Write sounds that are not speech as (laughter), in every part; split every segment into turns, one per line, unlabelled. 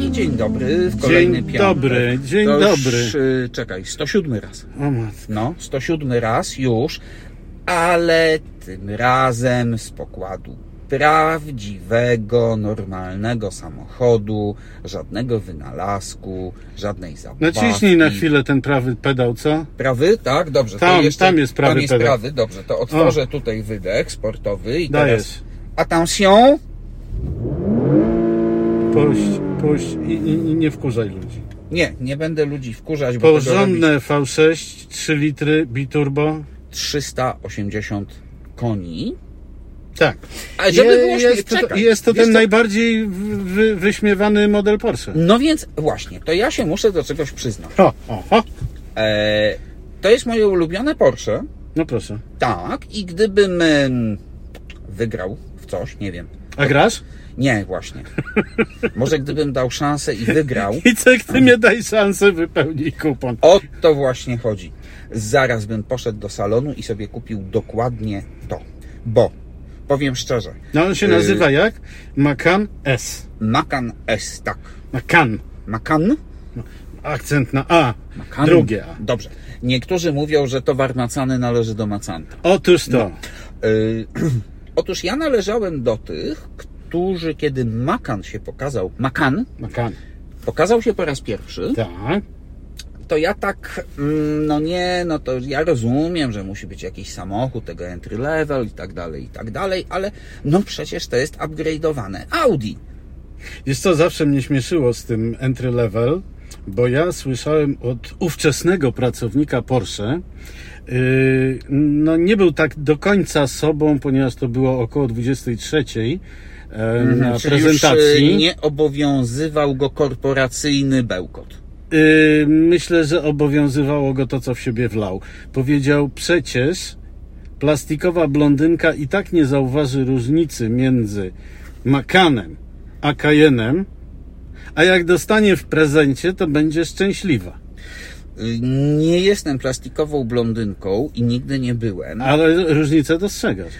I dzień dobry w
Dzień
kolejny piątek.
dobry, dzień
to Już,
dobry.
y, czekaj, 107 raz.
O matko.
No, 107 raz już, ale tym razem z pokładu prawdziwego, normalnego samochodu, żadnego wynalazku, żadnej zabawki.
Naciśnij na chwilę ten prawy pedał, co?
Prawy, tak, dobrze.
Tam-
to jeszcze,
tam jest prawy
Tam jest
pedał.
prawy, dobrze. To otworzę tutaj wydech sportowy i
Dajesz.
teraz... Attention!
Puść, puść i, i, i nie wkurzaj ludzi.
Nie, nie będę ludzi wkurzać, bo tego robi
No Porządne V6, 3 litry, biturbo.
380 koni.
Tak.
A żeby
Je-
było
jest,
śmiesznie,
to,
czekaj.
jest to
Wiesz
ten
co?
najbardziej wy- wy, wyśmiewany model Porsche.
No więc właśnie, to ja się muszę do czegoś przyznać.
O, o, o.
E, to jest moje ulubione Porsche.
No proszę.
Tak, i gdybym em, wygrał w coś, nie wiem.
A grasz?
Nie,
(laughs)
właśnie. Może gdybym dał szansę i wygrał.
I cek ty mnie daj szansę wypełnić kupon.
O to właśnie chodzi. Zaraz bym poszedł do salonu i sobie kupił dokładnie to. Bo, powiem szczerze,
No on się
Yy.
nazywa jak? Macan S.
Macan S, tak.
Macan.
Macan?
Akcent na A.
Macan.
Drugie A.
Dobrze. Niektórzy mówią, że towar macany należy do macanta.
Otóż to.
Yy, (clears throat) otóż ja należałem do tych, którzy kiedy Macan się pokazał, Macan
Macan.
pokazał się po raz pierwszy,
Tak.
to ja tak, mm, no nie, no to ja rozumiem, że musi być jakiś samochód, tego entry level i tak dalej, i tak dalej, ale no przecież to jest upgrade'owane Audi.
Wiesz co zawsze mnie śmieszyło z tym entry level, bo ja słyszałem od ówczesnego pracownika Porsche, yy, no nie był tak do końca sobą, ponieważ to było około 23 e, na
Mhm, Czyli
prezentacji.
Już y, nie obowiązywał go korporacyjny bełkot.
Yy, myślę, że obowiązywało go to, co w siebie wlał. Powiedział przecież plastikowa blondynka i tak nie zauważy różnicy między Makanem a Cayennem, a jak dostanie w prezencie, to będzie szczęśliwa.
Y, Nie jestem plastikową blondynką i nigdy nie byłem.
Ale różnicę dostrzegasz.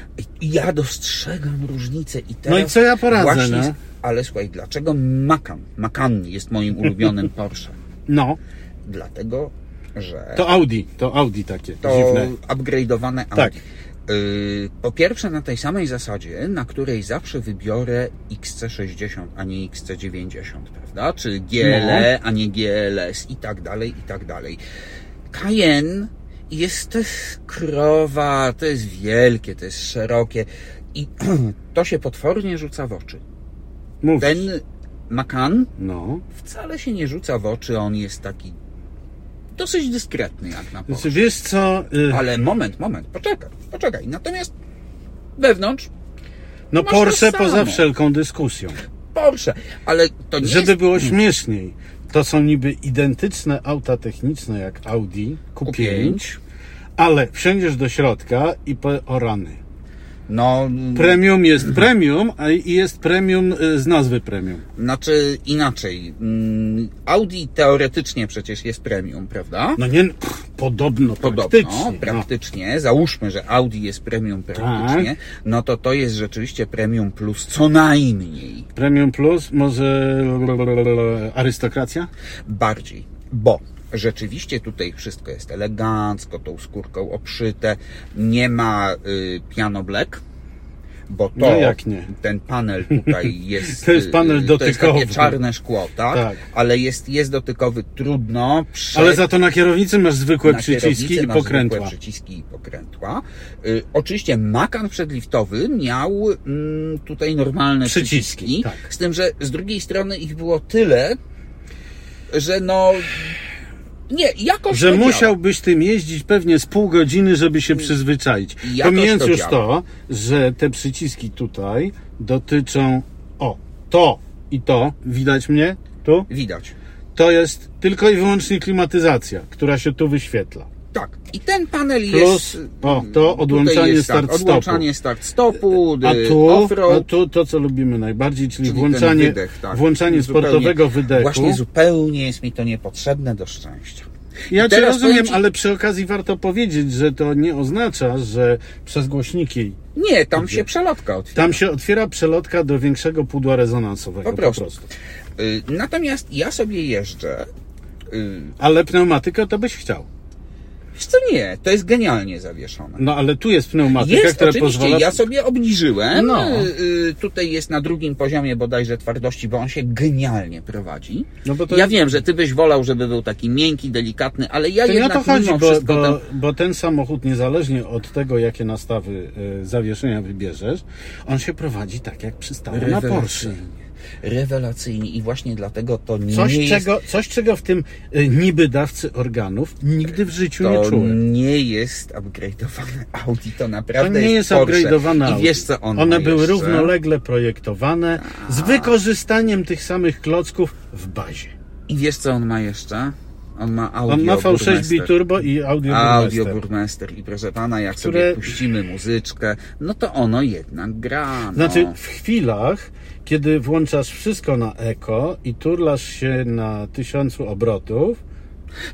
Ja dostrzegam różnicę i teraz...
No i co ja poradzę,
Właśnie,
no?
Ale słuchaj, dlaczego Macan? Macan jest moim ulubionym Porsche.
No,
Dlatego, że
to Audi, to Audi takie
to
dziwne.
upgrade'owane Audi.
Tak.
Y, po pierwsze na tej samej zasadzie, na której zawsze wybiorę XC60, a nie XC90, prawda? Czy GLE,
No.
a nie GLS i tak dalej, i tak dalej. Cayenne jest to jest krowa, to jest wielkie, to jest szerokie i (clears throat) to się potwornie rzuca w oczy.
Mów.
Ten Macan
No.
wcale się nie rzuca w oczy, on jest taki dosyć dyskretny jak na Porsche.
Znaczy, wiesz co, yy,
Ale moment, moment, poczekaj, poczekaj. Natomiast wewnątrz
no
masz to
Porsche
samo.
poza wszelką dyskusją.
Porsche, ale to nie
Żeby
jest
było śmieszniej, to są niby identyczne auta techniczne jak Audi Q5,
Q5.
ale wsiądziesz do środka i po o rany.
No,
Premium jest premium, a i jest premium y, z nazwy premium.
znaczy inaczej. Mm, Audi teoretycznie przecież jest premium, prawda?
No nie, pff, podobno,
Podobno,
praktycznie. No,
praktycznie. Załóżmy, że Audi jest premium praktycznie.
Tak.
No to to jest rzeczywiście premium plus co najmniej.
No, premium plus, może arystokracja?
bardziej, bo rzeczywiście tutaj wszystko jest elegancko, tą skórką obszyte, nie ma y, piano black, bo to
No jak nie?
ten
(laughs)
panel tutaj jest
To jest panel
y, To
dotykowy.
jest takie czarne szkło, tak?
Tak.
Ale jest jest dotykowy, trudno przy
Ale za to na kierownicy masz zwykłe
na
przyciski
kierownicy
i
masz
pokrętła.
zwykłe przyciski i pokrętła. Y, oczywiście Macan przedliftowy miał mm, tutaj normalne
Przyciski,
przyciski,
tak.
z tym, że z drugiej strony ich było tyle, że no nie, jakoś
Że
to działa.
musiałbyś tym jeździć pewnie z pół godziny, żeby się przyzwyczaić.
Jakoś
Pomijając
Mm. to działa.
już to, że te przyciski tutaj dotyczą o to i to, widać mnie tu?
widać.
To jest tylko i wyłącznie klimatyzacja, która się tu wyświetla.
Tak. I ten panel jest
Plus
y,
o, to
tutaj
odłączanie
jest, tak,
start-stopu.
odłączanie start stopu,
A
y,
tu, a
offroad,
tu to, co lubimy najbardziej, czyli,
czyli ten
włączanie,
wydech, tak.
włączanie
Zupełnie-
sportowego wydechu.
Właśnie zupełnie jest mi to niepotrzebne do szczęścia.
Ja cię
Teraz powiem
rozumiem,
ci-
ale przy okazji warto powiedzieć, że to nie oznacza, że przez głośniki
Nie, tam się przelotka otwiera.
Tam się otwiera przelotka do większego pudła rezonansowego
Po
po
prostu.
prostu.
Y, Natomiast ja sobie jeżdżę. y,
Ale pneumatykę to byś chciał.
Wiesz co nie, to jest genialnie zawieszone.
No ale tu jest pneumatyka,
Jest
która
oczywiście,
pozwala...
ja sobie obniżyłem.
No.
Y, y, tutaj jest na drugim poziomie bodajże twardości, bo on się genialnie prowadzi.
No bo to-
Ja wiem, że ty byś wolał, żeby był taki miękki, delikatny, ale ja
To nie o
jednak
to chodzi,
mimo
bo,
wszystko
bo,
ten-
bo ten samochód, niezależnie od tego, jakie nastawy e, zawieszenia wybierzesz, on się prowadzi tak, jak przystało na Porsche.
Rewelacyjnie. Rewelacyjnie i właśnie dlatego to nie
Coś,
jest
czego, coś, czego w tym e, niby dawcy organów nigdy w życiu nie
to
czułem.
nie jest upgrade'owane Audi, to
To
naprawdę
nie jest
Porsche.
upgrade'owana.
I wiesz co on
One
ma
były
jeszcze?
równolegle projektowane z wykorzystaniem tych samych klocków w bazie.
I wiesz co on ma jeszcze? On ma audio
On ma V6
Burmester.
biturbo i audio,
Audio
audio
Burmester i proszę pana, jak
Które-
sobie puścimy muzyczkę, no to ono jednak gra. No.
Znaczy w chwilach, kiedy włączasz wszystko na eko i turlasz się na tysiącu obrotów,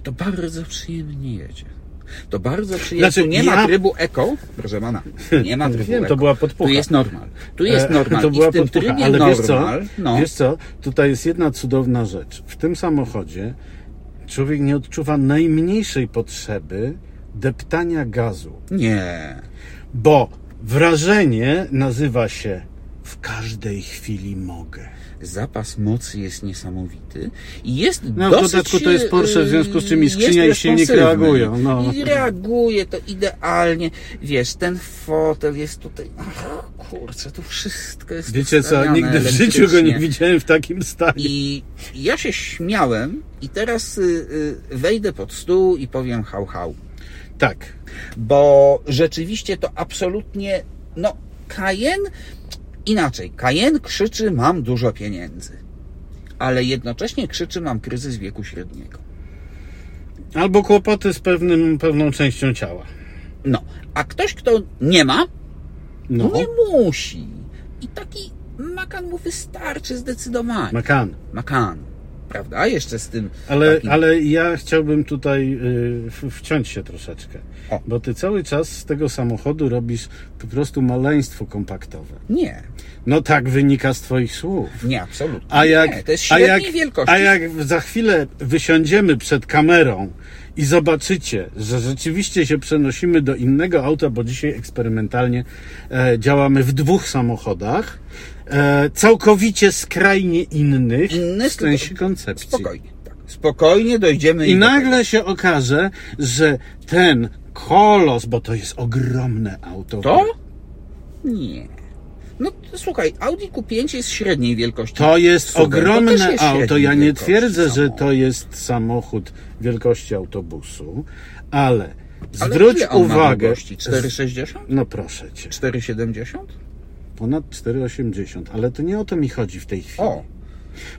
To bardzo przyjemnie jedzie. To bardzo przyjemnie.
Znaczy,
tu nie
ja-
ma trybu eko, proszę pana. Nie
(laughs)
ma trybu
Wiem, to
eko.
była podpucha.
Tu jest normal. Tu jest
E,
normal.
To
I
była
w tym
podpucha,
trybie
ale
normal,
wiesz co?
no,
Wiesz co? Tutaj jest jedna cudowna rzecz. W tym samochodzie człowiek nie odczuwa najmniejszej potrzeby deptania gazu,
nie.
bo wrażenie nazywa się w każdej chwili mogę.
Zapas mocy jest niesamowity i jest
No, w
dosyć...
dodatku to jest Porsche, w związku z czym i
yy,
skrzynia,
jest
i silnik
responsywny.
reagują, no.
I reaguje to idealnie. Wiesz, ten fotel jest tutaj... Ach, kurczę, tu wszystko jest
Wiecie co?
ustawiane
Nigdy w życiu go nie
elektrycznie.
widziałem w takim stanie.
I ja się śmiałem i teraz y, y, wejdę pod stół i powiem hał hał.
Tak.
Bo rzeczywiście to absolutnie... No, Cayenne... Inaczej, Cayenne krzyczy mam dużo pieniędzy. Ale jednocześnie krzyczy mam kryzys wieku średniego.
Albo kłopoty z pewnym, pewną częścią ciała.
No, a ktoś, kto nie ma,
No.
nie musi. I taki makan mu wystarczy zdecydowanie.
Makan.
makan, prawda? Jeszcze z tym.
Ale,
takim-
ale ja chciałbym tutaj y, w- wciąć się troszeczkę.
O.
Bo ty cały czas z tego samochodu robisz po prostu maleństwo kompaktowe.
Nie,
No tak wynika z twoich słów.
nie, absolutnie.
A jak,
nie, to jest
a
średniej
jak,
wielkości.
a jak za chwilę wysiądziemy przed kamerą i zobaczycie, że rzeczywiście się przenosimy do innego auta, bo dzisiaj eksperymentalnie e, działamy w dwóch samochodach, e, całkowicie skrajnie innych
Innych,
w sensie
tylko-
koncepcji.
Spokojnie, tak. Spokojnie dojdziemy
I
do
nagle się okaże, że ten kolos, bo to jest ogromne auto.
tego. To? Nie. No to słuchaj, Audi Q5 jest średniej wielkości.
To jest
SUV.
ogromne
No, To też jest
auto.
średniej
Ja nie
wielkości
twierdzę, że
samochód.
to jest samochód wielkości autobusu, ale
Ale
zwróć
ile on ma
uwagę.
długości? 4,60?
No proszę cię,
4,70?
ponad 4,80, ale to nie o to mi chodzi w tej chwili.
O!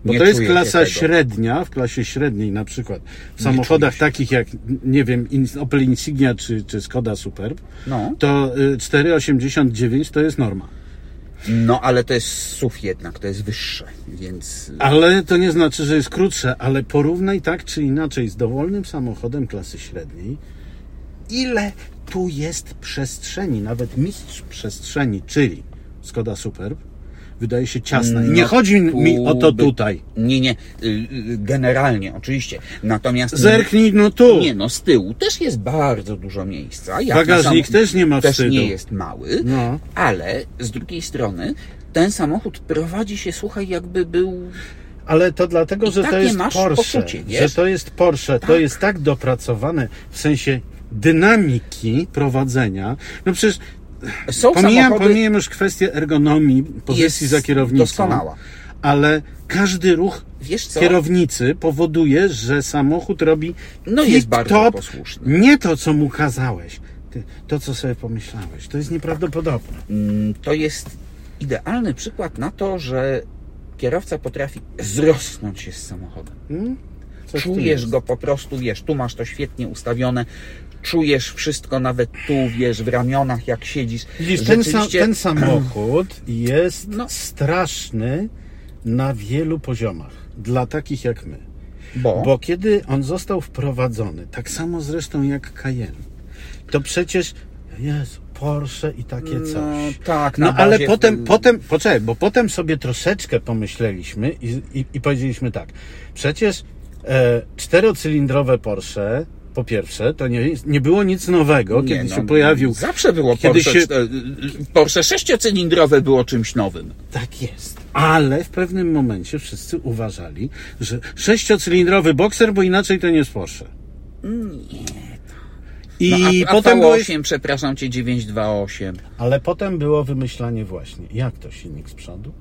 Bo
nie
to jest
czuję
klasa
tego.
średnia, w klasie średniej na przykład w samochodach takich jak, nie wiem, In- Opel Insignia czy, czy Skoda Superb,
No.
to y, 4,89 to jest norma.
No, ale to jest SUV jednak, to jest wyższe, więc...
Ale to nie znaczy, że jest krótsze, ale porównaj tak czy inaczej z dowolnym samochodem klasy średniej, ile tu jest przestrzeni, nawet mistrz przestrzeni, czyli Skoda Superb, wydaje się ciasna. I nie
No,
chodzi mi
tu
o to
by-
tutaj.
Nie, nie, y, y, generalnie, oczywiście. Natomiast...
Zerknij no tu.
Nie no, z tyłu też jest bardzo dużo miejsca. Jak
Bagażnik
na
też nie ma
Też
wstydu.
nie jest mały,
No.
ale z drugiej strony ten samochód prowadzi się, słuchaj, jakby był...
Ale to dlatego,
I
że to
takie
jest
masz
Porsche.
poczucie, wiesz?
Że to jest Porsche. To jest tak dopracowane w sensie dynamiki prowadzenia. No przecież
Są
Pomijam,
samochody...
pomijam już kwestię ergonomii pozycji
Jest
za kierownicą.
doskonała.
Ale każdy ruch
Wiesz co?
kierownicy powoduje, że samochód robi
No,
tip
jest bardzo
top,
posłuszny.
Nie to, co mu kazałeś. Ty, to, co sobie pomyślałeś. To jest nieprawdopodobne.
Mm, To jest idealny przykład na to, że kierowca potrafi zrosnąć się z samochodem.
Coś w Hmm? tym
czujesz
Tak jest.
go po prostu, wiesz, tu masz to świetnie ustawione, czujesz wszystko nawet tu, wiesz, w ramionach jak siedzisz.
Widzisz, ten, sam,
Rzeczywiście-
ten samochód jest
No.
straszny na wielu poziomach. Dla takich jak my.
Bo,
Bo kiedy on został wprowadzony, tak samo zresztą jak Cayenne, to przecież Jezu, Porsche i takie coś.
No tak,
No
na
ale
bazie-
potem, potem, poczekaj, bo potem sobie troszeczkę pomyśleliśmy i, i, i powiedzieliśmy tak. Przecież e, czterocylindrowe Porsche, po pierwsze, to nie, nie było nic nowego,
Nie,
kiedy
no,
się pojawił.
Zawsze było
kiedy
Porsche.
się-
Się... Porsche sześciocylindrowe było czymś nowym.
Tak jest. Ale w pewnym momencie wszyscy uważali, że sześciocylindrowy bokser, bo inaczej to nie jest Porsche. Nie.
No,
I
a, a
potem
V8,
byłeś
przepraszam cię, 928.
Ale potem było wymyślanie właśnie, jak to silnik z przodu?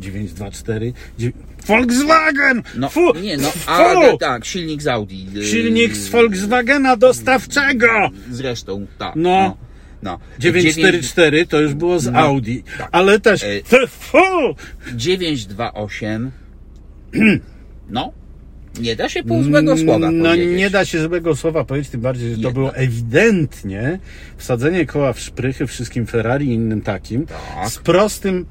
924, dziew- Volkswagen!
No,
Fu,
nie, no,
fu!
ale tak, silnik z Audi. y,
Silnik z Volkswagena dostawczego!
Zresztą, tak.
No.
No. no.
944 to już było z Audi, ale też
E,
te- fu!
928. No. Nie da się pół złego słowa
No
powiedzieć.
nie da się złego słowa powiedzieć, tym bardziej, że to
Jednak.
było ewidentnie wsadzenie koła w szprychy wszystkim Ferrari i innym takim
Tak.
z prostym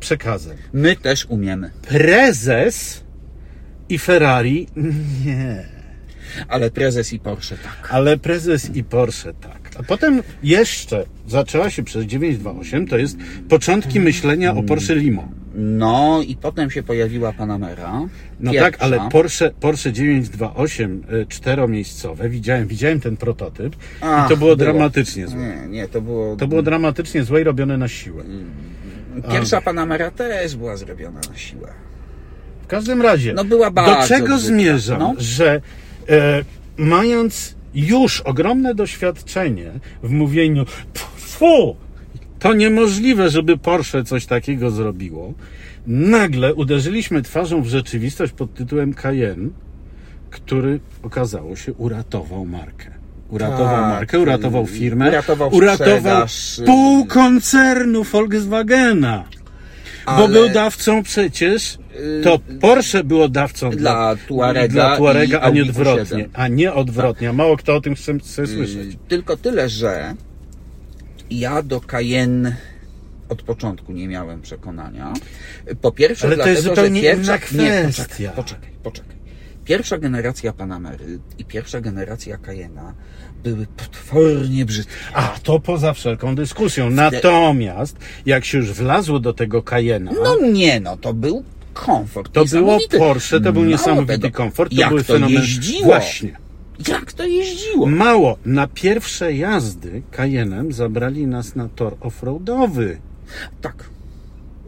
przekazem.
My też umiemy.
Prezes i Ferrari nie.
Ale prezes i Porsche tak.
Ale prezes i Porsche tak. A potem jeszcze zaczęła się przez 928, to jest początki myślenia o Porsche Limo.
No i potem się pojawiła Panamera.
No
Pierwsza.
tak, ale Porsche, Porsche 928 y, czteromiejscowe, widziałem, widziałem ten prototyp i
Ach,
to
było.
było dramatycznie złe.
Nie, nie, to było...
To było dramatycznie złe i robione na siłę.
Pierwsza Panamera też była zrobiona na siłę.
W każdym razie,
No była
do
bardzo
czego
brzydka,
zmierzam,
no.
że e, mając już ogromne doświadczenie w mówieniu fu, to niemożliwe, żeby Porsche coś takiego zrobiło, nagle uderzyliśmy twarzą w rzeczywistość pod tytułem Cayenne, który okazało się uratował markę. Uratował
Tak,
markę, uratował
y,
firmę,
uratował
uratował
sprzedaż, y.
pół koncernu Volkswagena. Bo
Ale- Y,
był dawcą przecież, to Porsche było dawcą
Dla Tuarega
dla Tuarega
i
a nie
Audi
odwrotnie.
Q7.
A nie odwrotnie. A mało kto o tym chce, chce
Mm.
słyszeć.
Tylko tyle, że ja do Cayenne od początku nie miałem przekonania. Po pierwsze,
Ale to
dlatego,
jest zupełnie
że pierwsza...
inna
Nie,
kwestia.
poczekaj, poczekaj, poczekaj. Pierwsza generacja Panamery i pierwsza generacja Cayena były potwornie brzydkie.
A to poza wszelką dyskusją. Natomiast jak się już wlazło do tego Cayena,
No nie, no to był komfort.
to było
niesamowity.
Porsche, to był
Mało
niesamowity
tego,
komfort, to
jak
były
to
fenomen.
jeździło.
Właśnie.
Jak to jeździło?
Mało. Na pierwsze jazdy Cayennem zabrali nas na tor offroadowy.
Tak.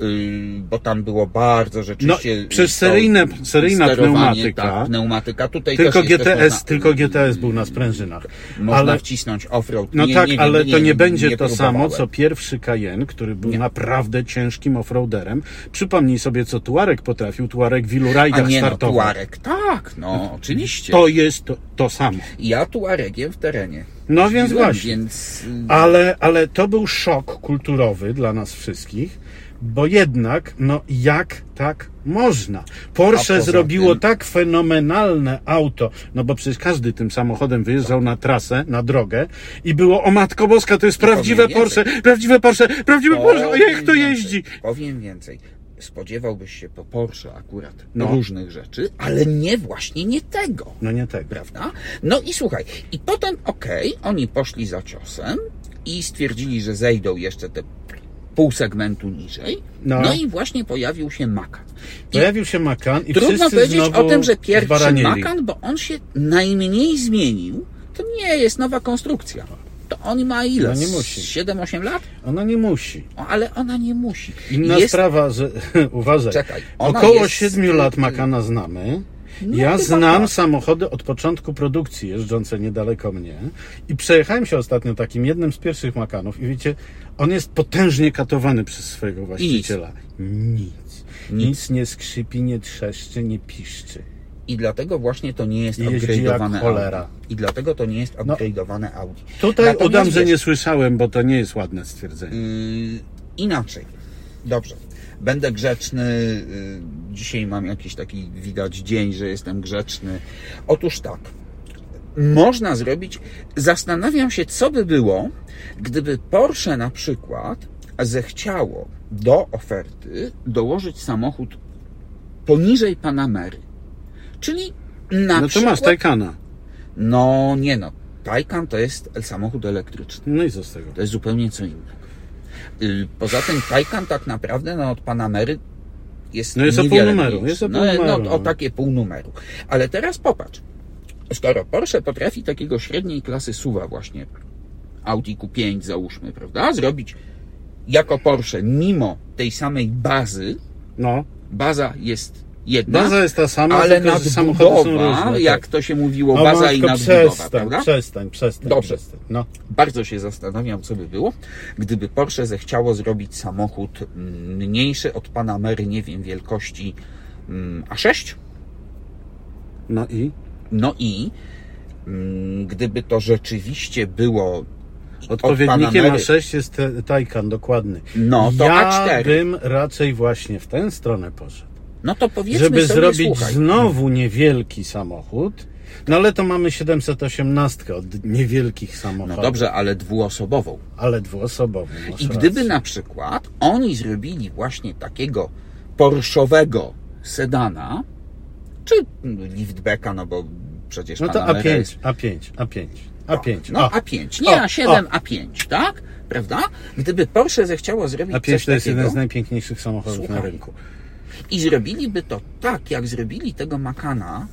Yy, bo tam było bardzo rzeczywiście.
No, przez seryjne-
to
seryjna
sterowanie,
pneumatyka.
Tak, pneumatyka tutaj
Tylko
też jest
GTS,
też można,
tylko GTS był na sprężynach.
Można
Ale
wcisnąć offroad.
No
nie,
tak,
nie wiem,
ale to nie, będzie to
próbowałem.
samo, co pierwszy Cayenne, który był naprawdę ciężkim offroaderem. Przypomnij sobie, co Tuarek potrafił. Tuarek w ilu
A
rajdach
nie, no,
startował.
Tuarek, tak, no, oczywiście.
to jest to, to samo.
Ja Tuaregiem w terenie.
No więc
Byłem,
właśnie.
Więc y,
Ale, ale to był szok kulturowy dla nas wszystkich, bo jednak, no jak tak można?
A
Porsche
poza
zrobiło
tym-
tak fenomenalne auto, no bo przecież każdy tym samochodem wyjeżdżał na trasę, na drogę i było, o matko boska, to jest prawdziwe
powiem
Porsche, prawdziwe Porsche, prawdziwe Porsche, o jak
powiem
to
więcej,
jeździ?
Powiem więcej. Spodziewałbyś się po Porsche akurat
No.
różnych rzeczy, ale nie właśnie nie tego.
No nie tego.
prawda? No i słuchaj, i potem okej, oni poszli za ciosem i stwierdzili, że zejdą jeszcze te pół segmentu niżej.
No.
No, i właśnie pojawił się Makan. I
Pojawił się Makan i
trudno
wszyscy
powiedzieć
znowu
o tym, że pierwszy
zbaranieli.
Makan, bo on się najmniej zmienił, to nie jest nowa konstrukcja. To on ma ile?
No nie musi.
7-8 lat?
Ona nie musi.
O, ale ona nie musi.
Inna
jest,
sprawa, że (laughs) uważaj,
Czekaj, ona
około
jest-
siedmiu lat Makana znamy.
No,
ja
chyba
znam
tak.
samochody od początku produkcji jeżdżące niedaleko mnie i przejechałem się ostatnio takim jednym z pierwszych Makanów i wiecie, on jest potężnie katowany przez swojego właściciela. Nic. Nic.
Nic.
nie skrzypi, nie trzeszczy, nie piszczy.
I dlatego właśnie to nie jest
Jeździ
upgrade'owane
jak cholera. No,
Audi. I dlatego to nie jest upgrade'owane Audi.
Tutaj
Natomiast
udam, że
wiesz,
nie słyszałem, bo to nie jest ładne stwierdzenie.
Yy, inaczej. Dobrze. Będę grzeczny. Yy, Dzisiaj mam jakiś taki widać dzień, że jestem grzeczny. Otóż tak. Można zrobić. Zastanawiam się, co by było, gdyby Porsche na przykład zechciało do oferty dołożyć samochód poniżej Panamery. Czyli na
No to
przykład.
masz Taycana.
No nie no. Taycan to jest samochód elektryczny.
No i co z tego?
To jest zupełnie co innego. Y, Poza tym Taycan tak naprawdę no, od Panamery jest
No jest o pół
niewiele
numeru,
mniejszy.
jest o pół
no,
numeru,
No,
no.
o takie pół numeru. Ale teraz popatrz. Skoro Porsche potrafi takiego średniej klasy suwa właśnie Audi Q5 załóżmy, prawda, zrobić jako Porsche mimo tej samej bazy,
No,
baza jest jedna,
baza jest ta sama,
ale
tylko że samochody są
nadbudowa,
różne.
jak
tak.
to się mówiło,
No,
baza i
Maćko,
nadbudowa,
przestań,
prawda?
przestań, przestań.
Dobrze.
przestań. No.
Bardzo się zastanawiam, co by było, gdyby Porsche zechciało zrobić samochód mm, mniejszy od Panamery, nie wiem, wielkości mm, A6.
no i?
No i mm, gdyby to rzeczywiście było od
Odpowiednikiem
Panamery,
A6 jest te- Taycan, dokładny.
No, to
ja
A4.
bym raczej właśnie w tę stronę poszedł.
no to powiedzmy
żeby
sobie,
zrobić
słuchaj,
znowu niewielki samochód, no ale to mamy 718 od niewielkich samochodów,
no dobrze, ale dwuosobową.
ale dwuosobowy. masz
I
rację.
gdyby na przykład oni zrobili właśnie takiego porszowego sedana, czy liftbacka, no bo przecież
No to
Panamera
A5,
jest...
A5, A5, A5,
No
o,
A5, nie
O,
A7, A5, tak? Prawda? Gdyby Porsche zechciało zrobić
A5
coś
to jest jeden
takiego
z najpiękniejszych samochodów na
Słuchaj.
rynku.
i zrobiliby to tak, jak zrobili tego Makana,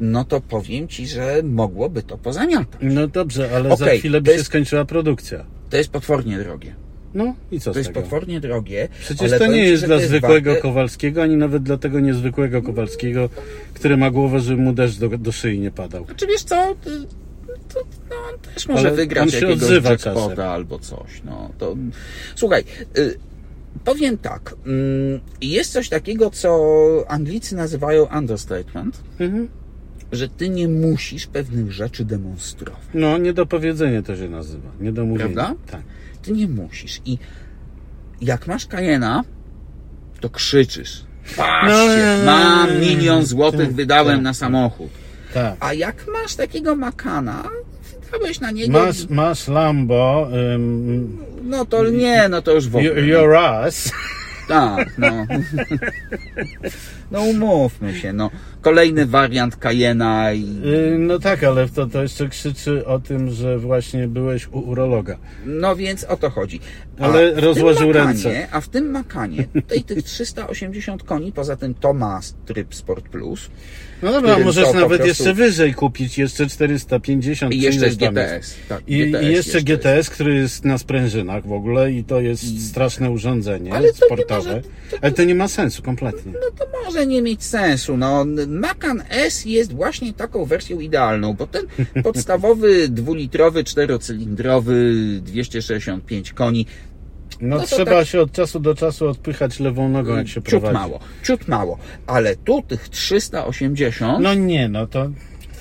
no to powiem Ci, że mogłoby to pozamiatać.
No dobrze, ale za
Okej,
chwilę
to
by się
jest-
skończyła produkcja.
To jest potwornie drogie.
No i co
To
z
jest
tego?
potwornie drogie.
Przecież
ale
to
powiem
nie
ci,
jest
że
dla
to jest
zwykłego
warte-
Kowalskiego, ani nawet dla tego niezwykłego Kowalskiego, który ma głowę, żeby mu deszcz do, do szyi nie padał.
Czy wiesz co, ty- to, no, on też może
Ale on
wygrać
się
jakiegoś
odzywa
jackpota
czasem.
albo coś. No, to... Słuchaj, y, powiem tak, mm, jest coś takiego, co Anglicy nazywają understatement,
Mhm.
że ty nie musisz pewnych rzeczy demonstrować.
No, niedopowiedzenie to się nazywa. Niedomówienie.
Prawda?
Tak.
Ty nie musisz. I jak masz Kajena, to krzyczysz. Patrzcie,
No,
mam milion złotych,
tak,
wydałem
tak.
na samochód.
tak.
A jak masz takiego makana, wydałeś na niego,
Masz, masz Lambo, ym,
no to nie, no to już w ogóle.
y- your ass.
Tak, no. No umówmy się, no. Kolejny wariant Kajena i...
Y, No tak, ale to, to jeszcze krzyczy o tym, że właśnie byłeś u urologa.
No więc o to chodzi.
Ale
w tym
rozłożył
Makanie-
ręce.
A w tym Makanie, tutaj tych 380 koni, poza tym to ma tryb Sport Plus,
No dobra,
Którym
możesz
to po
nawet
prostu-
jeszcze wyżej kupić, jeszcze 450.
I
czy
jeszcze
ileś tam jest.
GTS. Tak,
I,
GTS
I jeszcze
jest.
GTS, który jest na sprężynach w ogóle i to jest straszne urządzenie
Ale to nie
sportowe.
może-
Ale to nie ma sensu kompletnie.
No to może nie mieć sensu. No, Macan S jest właśnie taką wersją idealną, bo
(laughs)
ten podstawowy dwulitrowy, czterocylindrowy, 265 koni,
No,
No to
trzeba
tak-
się od czasu do czasu odpychać lewą nogą, jak się
ciut
prowadzi.
mało, ciut mało. Ale tu tych 380,
No nie, no to...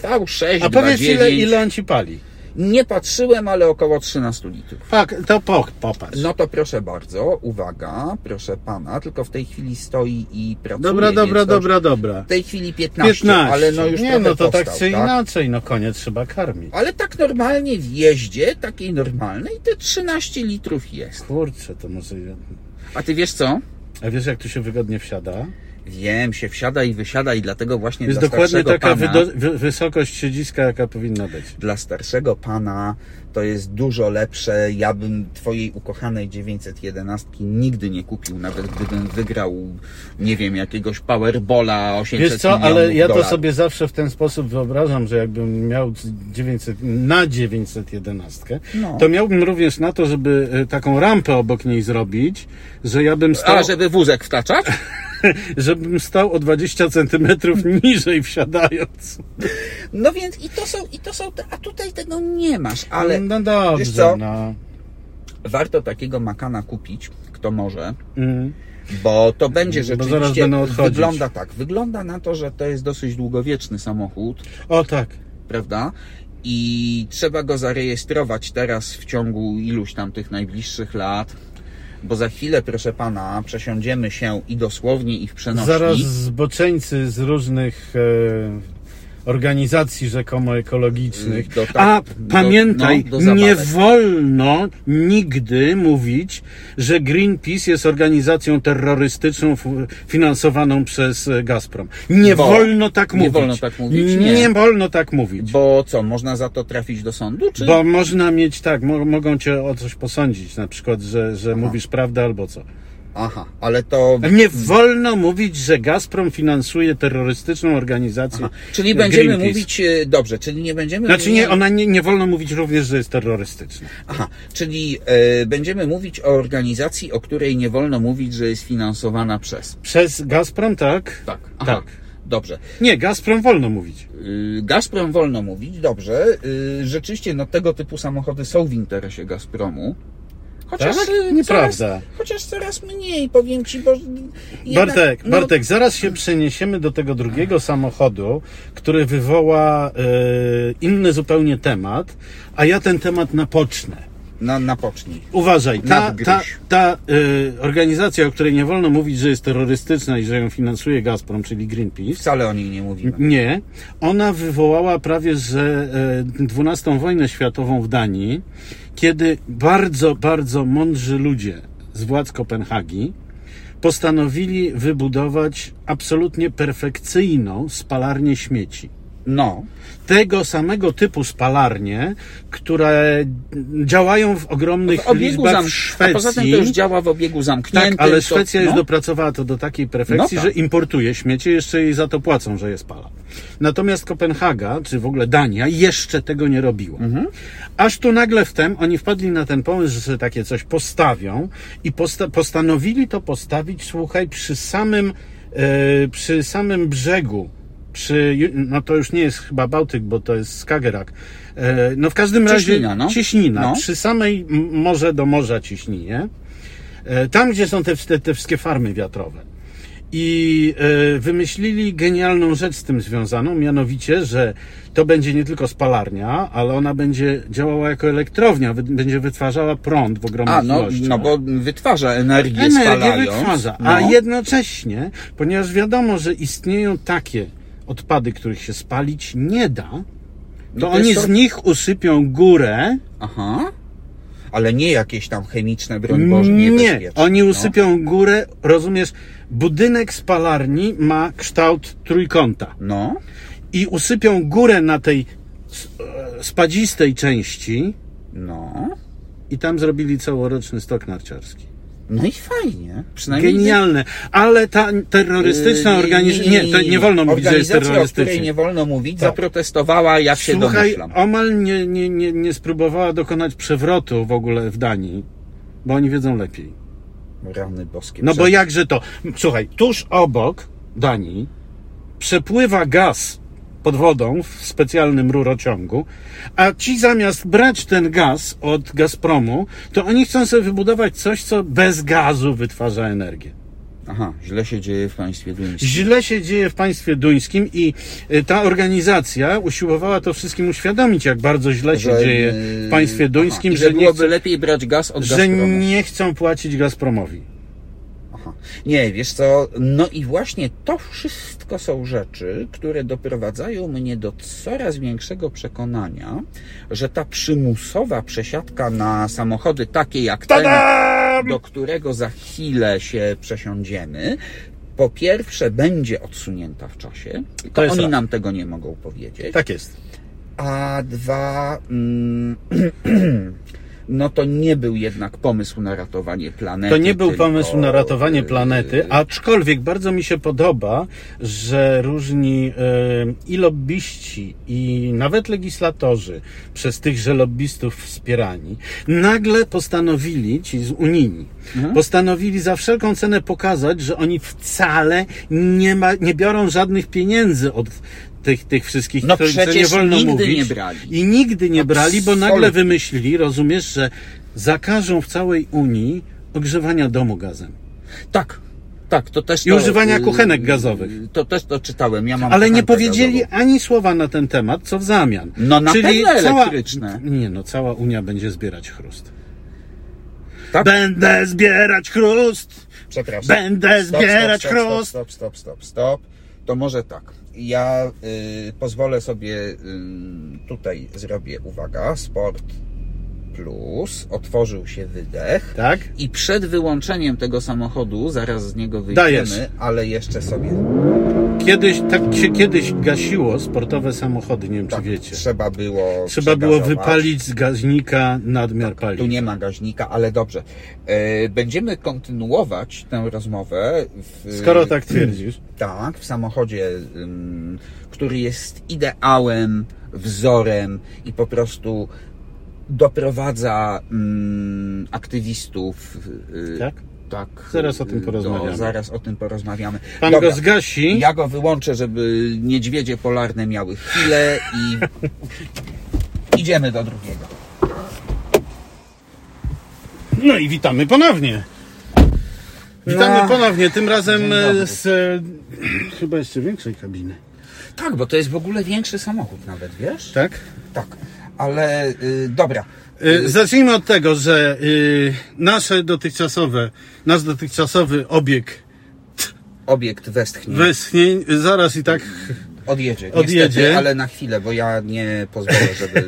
V6,
A powiedz, ile, ile on ci pali?
nie patrzyłem, ale około 13 litrów.
Tak, to po, popatrz.
No to proszę bardzo, uwaga, proszę pana, tylko w tej chwili stoi i pracuje.
Dobra,
więc
dobra,
to-
dobra, dobra.
W tej chwili 15,
15.
ale no już
Nie,
trochę
no to
powstał,
tak czy inaczej, no konie trzeba karmić.
Ale tak normalnie w jeździe, takiej normalnej, te 13 litrów jest.
Kurczę, to może...
A ty wiesz co?
A wiesz, jak tu się wygodnie wsiada?
Wiem, się wsiada i wysiada i dlatego właśnie
Jest
dla
dokładnie
starszego
taka
pana,
wydo- wy- wysokość siedziska, jaka powinna być.
dla starszego pana to jest dużo lepsze. Ja bym twojej ukochanej 911 nigdy nie kupił, nawet gdybym wygrał, nie wiem, jakiegoś Powerbola 800
Wiesz co, ale
milionów
ja to
dolarów.
sobie zawsze w ten sposób wyobrażam, że jakbym miał 900, na 911,
No.
to miałbym również na to, żeby e, taką rampę obok niej zrobić, że ja bym stał,
A, żeby wózek wtaczać?
żebym stał o 20 centymetrów (laughs) niżej wsiadając.
No więc i to są, i to są, te, a tutaj tego nie masz, ale
No dobrze,
wiesz co?
no.
warto takiego makana kupić, kto może,
Mm.
Bo to będzie
Bo zaraz
rzeczywiście.
będą odchodzić.
wygląda tak. Wygląda na to, że to jest dosyć długowieczny samochód,
O tak.
prawda? I trzeba go zarejestrować teraz w ciągu iluś tam tych najbliższych lat. Bo za chwilę, proszę pana, przesiądziemy się i dosłownie, i w przenośni.
Zaraz zboczeńcy z różnych e, organizacji rzekomo ekologicznych.
Do tak-
A
do-
pamiętaj,
no, do zabawek.
nie wolno nigdy mówić, że Greenpeace jest organizacją terrorystyczną f- finansowaną przez e, Gazprom. Nie
Bo-
wolno tak
nie
mówić.
wolno tak mówić,
Nie,
nie.
wolno tak mówić. Bo,
Bo co, można za to trafić do sądu? Czy...
można mieć tak, mo- mogą cię o coś posądzić, na przykład, że, że mówisz prawdę albo co.
Aha, ale to...
Nie wolno mówić, że Gazprom finansuje terrorystyczną organizację.
Czyli będziemy
Greenpeace.
mówić... e, Dobrze, czyli nie będziemy...
Znaczy
mówili-
nie, ona nie, nie wolno mówić również, że jest terrorystyczna.
Aha, czyli e, będziemy mówić o organizacji, o której nie wolno mówić, że jest finansowana przez.
Przez Gazprom, tak?
Tak. Aha,
Tak.
Dobrze.
Nie, Gazprom wolno mówić.
Y, Gazprom wolno mówić, dobrze. Y, Rzeczywiście, no tego typu samochody są w interesie Gazpromu. Chociaż
Tak?
y,
Nieprawda.
Coraz, chociaż coraz mniej, powiem ci, bo. jednak-
Bartek,
no,
Bartek, zaraz się przeniesiemy do tego drugiego samochodu, który wywoła e, inny zupełnie temat, a ja ten temat napocznę.
Na, no, napocznij.
Uważaj, ta,
Nadgryź.
ta, ta e, organizacja, o której nie wolno mówić, że jest terrorystyczna i że ją finansuje Gazprom, czyli Greenpeace,
Wcale o niej nie mówimy.
Nie. Ona wywołała prawie że e, XII wojnę światową w Danii, kiedy bardzo, bardzo mądrzy ludzie z władz Kopenhagi postanowili wybudować absolutnie perfekcyjną spalarnię śmieci.
No,
Tego samego typu spalarnie, które działają w ogromnych
w obiegu
liczbach w
zamkniętym.
Szwecji.
A poza tym to już działa w obiegu zamkniętym.
Tak, ale
to-
Szwecja już
no.
dopracowała to do takiej perfekcji,
No tak.
że importuje śmiecie, jeszcze jej za to płacą, że je spala. Natomiast Kopenhaga, czy w ogóle Dania, jeszcze tego nie robiła.
Mhm.
Aż tu nagle wtem oni wpadli na ten pomysł, że sobie takie coś postawią i posta- postanowili to postawić, słuchaj, przy samym, e, przy samym brzegu. Przy, no to już nie jest chyba Bałtyk, bo to jest Skagerrak. E, no w każdym
Cieśnina,
razie
no.
cieśnina.
No.
Przy samej m- morze do morza ciśnienie. E, Tam, gdzie są te, te, te wszystkie farmy wiatrowe. I e, wymyślili genialną rzecz z tym związaną, mianowicie, że to będzie nie tylko spalarnia, ale ona będzie działała jako elektrownia, wy, będzie wytwarzała prąd w ogromnych
A, no,
ilościach.
no bo wytwarza energię,
energię
spalając.
wytwarza.
No.
A jednocześnie, ponieważ wiadomo, że istnieją takie odpady, których się spalić nie da, to,
No, to
oni
jest
z
to-
nich usypią górę,
Aha. Ale nie jakieś tam chemiczne, broń Boże,
nie,
niebezpieczne.
oni
no.
usypią górę, rozumiesz, budynek spalarni ma kształt trójkąta
No,
i usypią górę na tej s- e, spadzistej części
no.
i tam zrobili całoroczny stok narciarski.
No i Yy, fajnie. Przynajmniej. y,
Genialne, ale ta terrorystyczna organizacja, nie, to nie wolno mówić, że jest
Organizacja, o której
terrorystyczna.
nie wolno mówić,
Tak.
zaprotestowała, jak się
Słuchaj,
domyślam.
omal nie, nie, nie, nie spróbowała dokonać przewrotu w ogóle w Danii, bo oni wiedzą lepiej.
Rany boskie.
No bo
Prze-
jakże to? Słuchaj, tuż obok Danii przepływa gaz pod wodą w specjalnym rurociągu, a ci zamiast brać ten gaz od Gazpromu, to oni chcą sobie wybudować coś, co bez gazu wytwarza energię.
Aha, źle się dzieje w państwie duńskim.
Źle się dzieje w państwie duńskim i y, ta organizacja usiłowała to wszystkim uświadomić, jak bardzo źle się
Że,
dzieje
yy,
w państwie duńskim,
aha, i
że, nie,
byłoby
chce,
lepiej brać gaz od
że
Gazpromu.
nie chcą płacić Gazpromowi.
Aha. Nie, wiesz co, no i właśnie to wszystko są rzeczy, które doprowadzają mnie do coraz większego przekonania, że ta przymusowa przesiadka na samochody takie jak ten, do którego za chwilę się przesiądziemy, po pierwsze będzie odsunięta w czasie,
To
to
jest
oni
raz.
nam tego nie mogą powiedzieć,
Tak jest.
a dwa... Mm, (clears throat) No to nie był jednak pomysł na ratowanie planety.
To nie był
tylko,
pomysł na ratowanie
yy,
planety, aczkolwiek bardzo mi się podoba, że różni e, i lobbyści, i nawet legislatorzy przez tychże lobbystów wspierani, nagle postanowili, ci z unijni,
Mhm.
postanowili za wszelką cenę pokazać, że oni wcale nie, ma, nie biorą żadnych pieniędzy od tych, tych wszystkich,
No
których co
przecież
nie wolno
nigdy
mówić.
nie brali.
I nigdy
No,
nie brali, bo nagle
Absolutnie.
wymyślili, rozumiesz, że zakażą w całej Unii ogrzewania domu gazem.
Tak, tak, to też.
I
to,
używania
y,
kuchenek gazowych.
y, To też to czytałem, ja mam.
Ale nie
kuchenkę
powiedzieli
gazową.
ani słowa na ten temat, co w zamian.
No na
Czyli
pewno
cała...
elektryczne.
Nie no, cała Unia będzie zbierać chrust.
Tak?
Będę zbierać chrust!
Przepraszam.
Będę zbierać
stop, stop,
chrust.
Stop, stop, stop, stop. to może tak. Ja y, pozwolę sobie y, tutaj zrobię uwaga, sport plus, otworzył się wydech.
Tak?
I przed wyłączeniem tego samochodu, zaraz z niego
Dajesz.
wyjdziemy, ale jeszcze sobie
Kiedyś, tak się kiedyś gasiło sportowe samochody, nie wiem
tak,
czy wiecie.
trzeba było.
Trzeba było
przegazować.
wypalić z gaźnika nadmiar
Tu
paliw.
nie ma gaźnika, ale dobrze. E, Będziemy kontynuować tę rozmowę. W,
Skoro tak twierdzisz.
Tak, w samochodzie, ym, który jest ideałem, wzorem i po prostu doprowadza ym, aktywistów. y,
Tak?
tak.
Zaraz o tym
y, do-
porozmawiamy.
zaraz o tym porozmawiamy.
Pan
Dobra,
go zgasi.
ja go wyłączę, żeby niedźwiedzie polarne miały chwilę
(laughs)
i idziemy do drugiego.
No i witamy ponownie. Witamy
No.
ponownie, tym razem
Dzień dobry.
e, (clears throat) z e, chyba jeszcze większej kabiny.
Tak, bo to jest w ogóle większy samochód nawet, wiesz?
Tak?
Tak, ale y, dobra.
E, Zacznijmy od tego, że y, nasze dotychczasowe, nasz dotychczasowy obieg
Obiekt westchnie.
westchnień y, zaraz i tak
Odjedzie,
Odjedzie.
niestety, ale na chwilę, bo ja nie pozwolę, żeby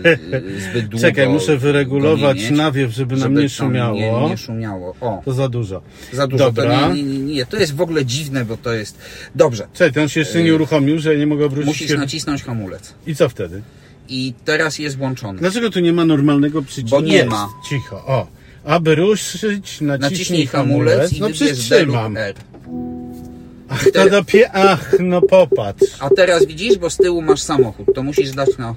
y, zbyt długo...
Czekaj, muszę
go nie
wyregulować
mieć,
nawiew, żeby nam nie
tam Nie,
szumiało.
nie szumiało. O,
To za dużo.
za dużo.
Dobra.
To nie, nie, nie, nie, to jest w ogóle dziwne, bo to jest... Dobrze,
Czekaj, to on się jeszcze nie uruchomił, że ja nie mogę obrócić
E, musisz
się.
nacisnąć hamulec.
I co wtedy?
I teraz jest włączony.
Dlaczego tu nie ma normalnego przycisku?
Bo nie
Jest,
ma.
Cicho, o. Aby ruszyć, naciśnij,
Naciśnij hamulec i
No przecież
wybierz D lub
trzymam.
R.
Ach, to dopie... Ach, no popatrz.
A teraz widzisz, bo z tyłu masz samochód, to musisz dać na...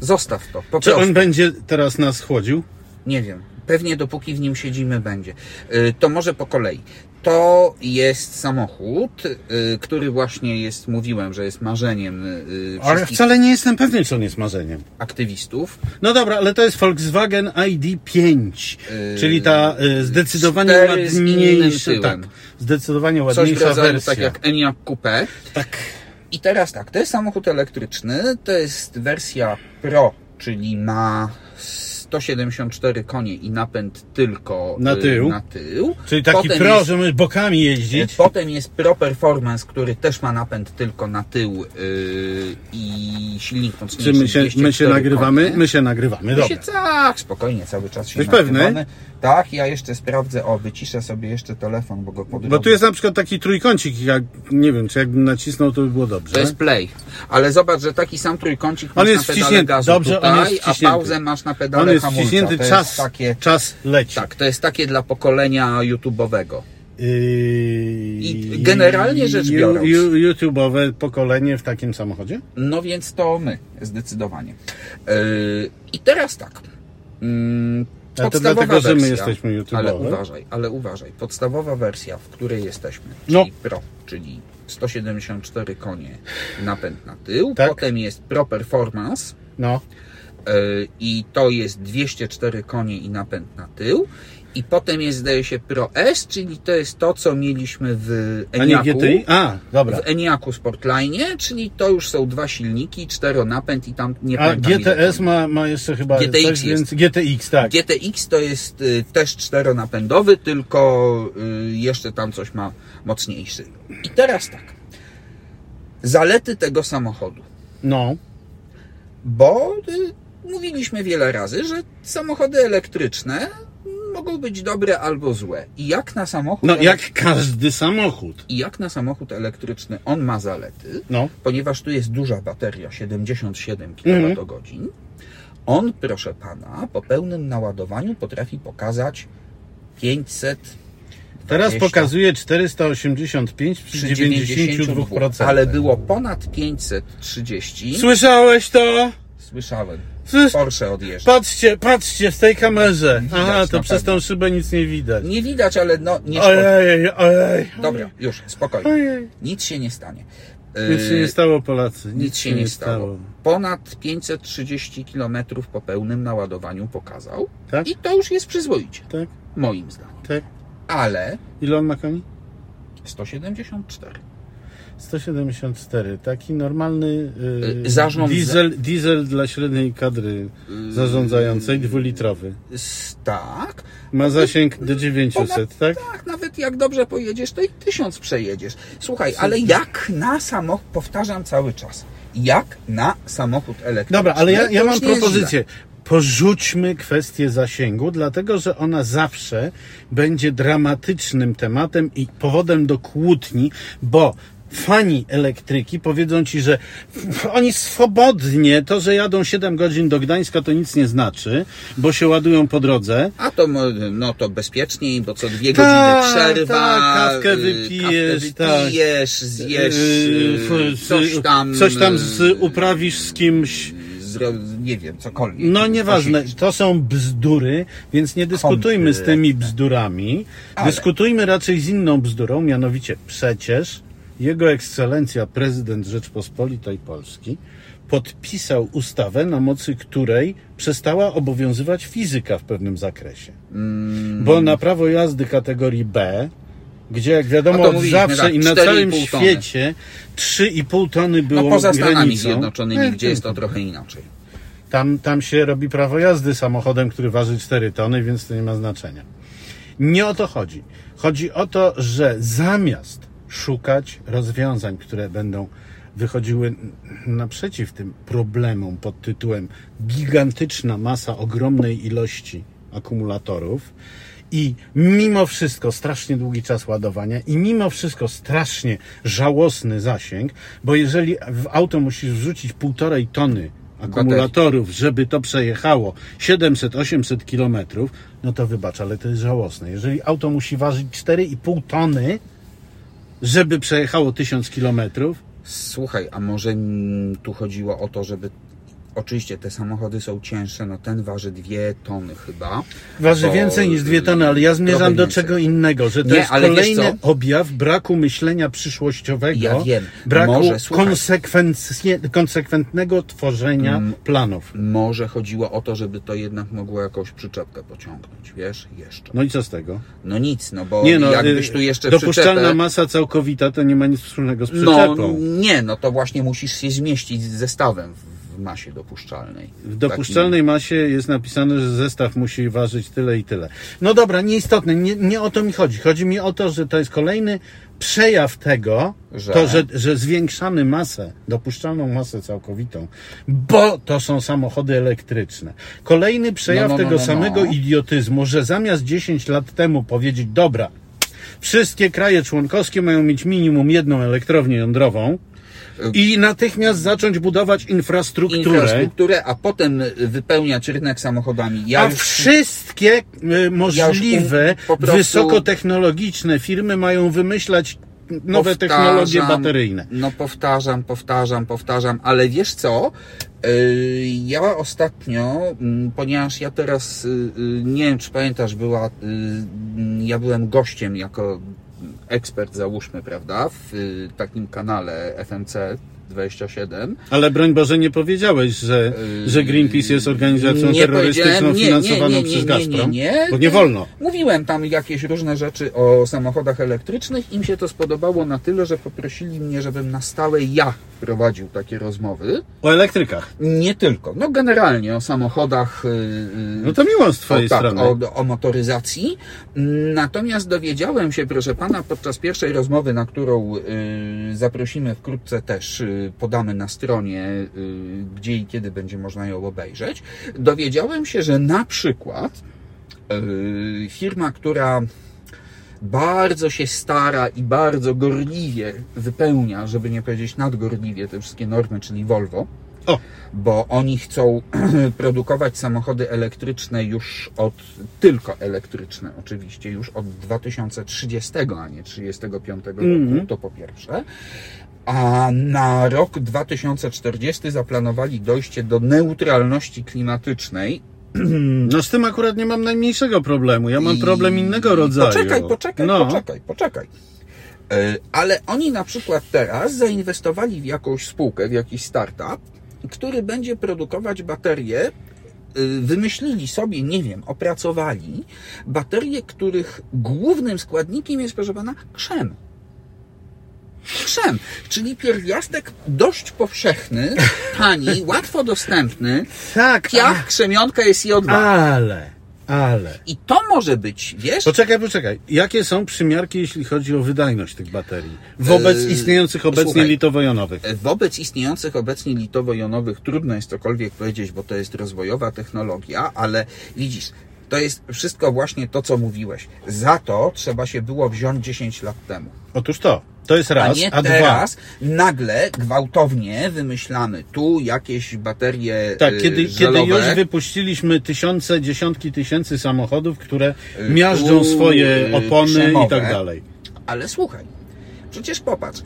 Zostaw to, po
Czy
prostu.
on będzie teraz nas chłodził?
Nie wiem. Pewnie dopóki w nim siedzimy będzie. Y, To może po kolei. To jest samochód, y, który właśnie jest, mówiłem, że jest marzeniem y,
Ale
wszystkich
wcale nie jestem pewny, czy on jest marzeniem.
aktywistów.
No dobra, ale to jest Volkswagen ID5, czyli ta y, zdecydowanie
Yy, cztery z innym
ładniejsza, tak,
tyłem.
zdecydowanie
Coś w
ładniejsza
rodzaju
wersja.
tak jak Enyaq Coupe.
Tak.
I teraz tak, to jest samochód elektryczny, to jest wersja Pro, czyli ma 174 konie i napęd tylko
Na
y,
tył.
Na tył.
Czyli taki
Potem
pro,
jest-
że my bokami jeździć.
Potem jest Pro Performance, który też ma napęd tylko na tył yy, i silnik mocniejszy.
Czy my się, my się
204
nagrywamy?
konie.
My się nagrywamy,
My się
dobra.
tak, spokojnie, cały czas się
Jesteś pewny?
nagrywamy. Tak, ja jeszcze sprawdzę, o, wyciszę sobie jeszcze telefon, bo go podrobię.
Bo tu jest na przykład taki trójkącik, jak, nie wiem, czy jakbym nacisnął, to by było dobrze.
To jest play. Ale zobacz, że taki sam trójkącik
On
masz
jest
na pedale
wciśnięty,
gazu
dobrze, on
tutaj,
jest
a
wciśnięty.
pauzę masz na pedale
On jest
hamulca.
wciśnięty,
to jest
czas,
takie,
czas leci.
tak, to jest takie dla pokolenia YouTube'owego.
Yy,
I generalnie rzecz
ju-
biorąc-
ju- YouTube'owe pokolenie w takim samochodzie?
No więc to my, zdecydowanie. Yy, I teraz tak. Mm,
Ale to
podstawowa
dlatego, że my
wersja,
jesteśmy YouTube'owe.
Ale uważaj, ale uważaj. Podstawowa wersja, w której jesteśmy, czyli
No.
Pro, czyli 174 konie napęd na tył.
Tak.
Potem jest Pro Performance
No.
yy, i to jest 204 konie i napęd na tył. I potem jest, zdaje się, Pro S, czyli to jest to, co mieliśmy w
A nie
Eniaku.
GTI? A, dobra.
W Eniaku Sportline, czyli to już są dwa silniki, czteronapęd i tam nie
A
pamiętam ile
GTS
tam.
ma, ma jeszcze chyba
GTX
coś
jest.
więcej. GTX, tak.
GTX to jest y, też czteronapędowy, tylko y, jeszcze tam coś ma mocniejszy. I teraz tak. Zalety tego samochodu.
No.
Bo y, mówiliśmy wiele razy, że samochody elektryczne mogą być dobre albo złe. I jak na samochód,
No jak każdy samochód.
i jak na samochód elektryczny on ma zalety,
No.
ponieważ tu jest duża bateria,
Mhm.
77 kWh, on, proszę pana, po pełnym naładowaniu potrafi pokazać 500
Teraz
20.
pokazuje 485 przy 92%.
ale było ponad 530.
Słyszałeś to?
Słyszałem.
Słys...
Porsche odjeżdża.
Patrzcie, patrzcie w tej kamerze.
Widać
Aha,
na
to przez
pewno.
tą szybę nic nie widać.
Nie widać, ale no nie szkodzi.
Ojej, ojej.
Dobra, już, spokojnie.
Ojej.
Nic się nie stanie.
Nic się nie
Yy,
stało, Polacy. Nic,
Nic się nie stało. Ponad 530 km po pełnym naładowaniu pokazał.
Tak?
I to już jest przyzwoicie,
Tak,
moim zdaniem.
tak.
Ale
Ile on ma koni?
174.
174. Taki normalny
Y, zarządza- Y,
diesel, diesel dla średniej kadry zarządzającej, dwulitrowy.
S- Tak,
Ma zasięg do 900, tak?
tak, nawet tak jak dobrze pojedziesz, to i tysiąc przejedziesz. Słuchaj, ale jak na samochód, powtarzam cały czas, jak na samochód elektryczny.
Dobra, ale ja, ja
No To
mam
już nie jest
propozycję. Porzućmy kwestię zasięgu, dlatego że ona zawsze będzie dramatycznym tematem i powodem do kłótni, bo fani elektryki powiedzą ci, że oni swobodnie, to że jadą 7 godzin do Gdańska to nic nie znaczy, bo się ładują po drodze.
A to mo- no to bezpieczniej, bo co dwie
Tak,
godziny przerwa,
tak, kawkę
y,
wypijesz,
kawkę wypijesz zjesz
Yy,
y,
f-
coś tam,
coś tam
y,
z, uprawisz z kimś.
zro, nie wiem, cokolwiek.
No nieważne, to są bzdury, więc nie dyskutujmy z tymi bzdurami.
Ale-
Dyskutujmy raczej z inną bzdurą, mianowicie przecież Jego Ekscelencja prezydent Rzeczpospolitej Polski podpisał ustawę, na mocy której przestała obowiązywać fizyka w pewnym zakresie.
Mm.
Bo na prawo jazdy kategorii B, gdzie jak
No
wiadomo
to
od
mówiliśmy,
zawsze
tak,
i na
4,5
całym
tony.
świecie 3,5 tony było
No poza Stanami
granicą.
Zjednoczonymi,
E,
gdzie jest to trochę inaczej.
tam, tam się robi prawo jazdy samochodem, który waży 4 tony, więc to nie ma znaczenia. Nie o to chodzi. Chodzi o to, że zamiast szukać rozwiązań, które będą wychodziły naprzeciw tym problemom pod tytułem gigantyczna masa ogromnej ilości akumulatorów i mimo wszystko strasznie długi czas ładowania i mimo wszystko strasznie żałosny zasięg, bo jeżeli w auto musisz wrzucić półtorej tony akumulatorów, torów, żeby to przejechało 700-800 kilometrów, no to wybacz, ale to jest żałosne. Jeżeli auto musi ważyć 4,5 tony, żeby przejechało 1000 kilometrów,
Słuchaj, a może mm, tu chodziło o to, żeby. Oczywiście te samochody są cięższe, no ten waży dwie tony chyba.
waży
Bo-
więcej niż 2 tony, ale ja zmierzam
Trochę
do
więcej.
czego innego, że to
Nie,
jest
ale wiesz
kolejny
co?
objaw braku myślenia przyszłościowego,
Ja wiem.
braku
Może, słuchaj.
konsekwenc- konsekwentnego tworzenia
Mm.
planów.
Może chodziło o to, żeby to jednak mogło jakąś przyczepkę pociągnąć, wiesz? Jeszcze.
No i co z tego?
No nic, no bo
Nie no,
jakbyś
y,
tu jeszcze
dopuszczalna
przyczepę...
masa całkowita to nie ma nic wspólnego z przyczepą.
No nie, no to właśnie musisz się zmieścić z zestawem w- w masie dopuszczalnej.
W dopuszczalnej masie jest napisane, że zestaw musi ważyć tyle i tyle. No dobra, nieistotne, nie, nie o to mi chodzi. Chodzi mi o to, że to jest kolejny przejaw tego,
Że?
To, że, że zwiększamy masę, dopuszczalną masę całkowitą, bo to są samochody elektryczne. Kolejny przejaw
No, no, no,
tego
no,
samego
no.
idiotyzmu, że zamiast 10 lat temu powiedzieć, dobra, wszystkie kraje członkowskie mają mieć minimum jedną elektrownię jądrową, i natychmiast zacząć budować infrastrukturę.
infrastrukturę, a potem wypełniać rynek samochodami. Ja
A
już-
wszystkie y, możliwe,
um- po prostu-
wysokotechnologiczne firmy mają wymyślać nowe technologie
Powtarzam,
bateryjne.
No powtarzam, powtarzam, powtarzam, ale wiesz co? Yy, Ja ostatnio, mm, ponieważ ja teraz, yy, yy, nie wiem czy pamiętasz, była, yy, ja byłem gościem jako ekspert, załóżmy, prawda, w yy, takim kanale FMC 27.
Ale broń Boże nie powiedziałeś, że,
Yy,
że Greenpeace jest organizacją
nie
terrorystyczną
powiedziałem, nie,
finansowaną
nie, nie,
przez
nie, nie,
Gazprom.
nie.
Bo nie wolno.
Mówiłem tam jakieś różne rzeczy o samochodach elektrycznych. Im się to spodobało na tyle, że poprosili mnie, żebym na stałe ja prowadził takie rozmowy.
O elektrykach.
Nie tylko. No generalnie o samochodach. yy,
No to miło z twojej
o, tak,
strony.
o, o motoryzacji. Natomiast dowiedziałem się, proszę pana, podczas pierwszej rozmowy, na którą y, zaprosimy wkrótce też, y, podamy na stronie, y, gdzie i kiedy będzie można ją obejrzeć, dowiedziałem się, że na przykład y, firma, która bardzo się stara i bardzo gorliwie wypełnia, żeby nie powiedzieć nadgorliwie te wszystkie normy, czyli Volvo,
O.
bo oni chcą (clears throat) produkować samochody elektryczne już od, tylko elektryczne oczywiście, już od 2030, a nie 35 roku,
Mhm.
to po pierwsze. A na rok 2040 zaplanowali dojście do neutralności klimatycznej.
No z tym akurat nie mam najmniejszego problemu. Ja mam
I-
problem innego rodzaju.
Poczekaj, poczekaj,
no.
poczekaj, poczekaj. Yy, Ale oni na przykład teraz zainwestowali w jakąś spółkę, w jakiś startup, który będzie produkować baterie. yy, Wymyślili sobie, nie wiem, opracowali baterie, których głównym składnikiem jest, proszę pana, krzem. Krzem, czyli pierwiastek dość powszechny, tani, łatwo dostępny.
Tak,
Piach, krzemionka jest CO2.
ale Ale.
I to może być, wiesz,
Poczekaj, poczekaj. Jakie są przymiarki, jeśli chodzi o wydajność tych baterii wobec
Yy,
istniejących obecnie
słuchaj.
litowo-jonowych?
wobec istniejących obecnie litowo-jonowych trudno jest cokolwiek powiedzieć, bo to jest rozwojowa technologia, ale widzisz, to jest wszystko właśnie to, co mówiłeś. Za to trzeba się było wziąć 10 lat temu.
Otóż to. To jest
A
raz,
nie
a, dwa.
teraz nagle gwałtownie wymyślamy tu jakieś baterie.
Tak,
y,
kiedy, kiedy
żelowe.
już wypuściliśmy tysiące, dziesiątki tysięcy samochodów, które miażdżą
E, tu,
swoje
y,
opony i
krzemowe.
tak dalej.
Ale słuchaj, przecież popatrz,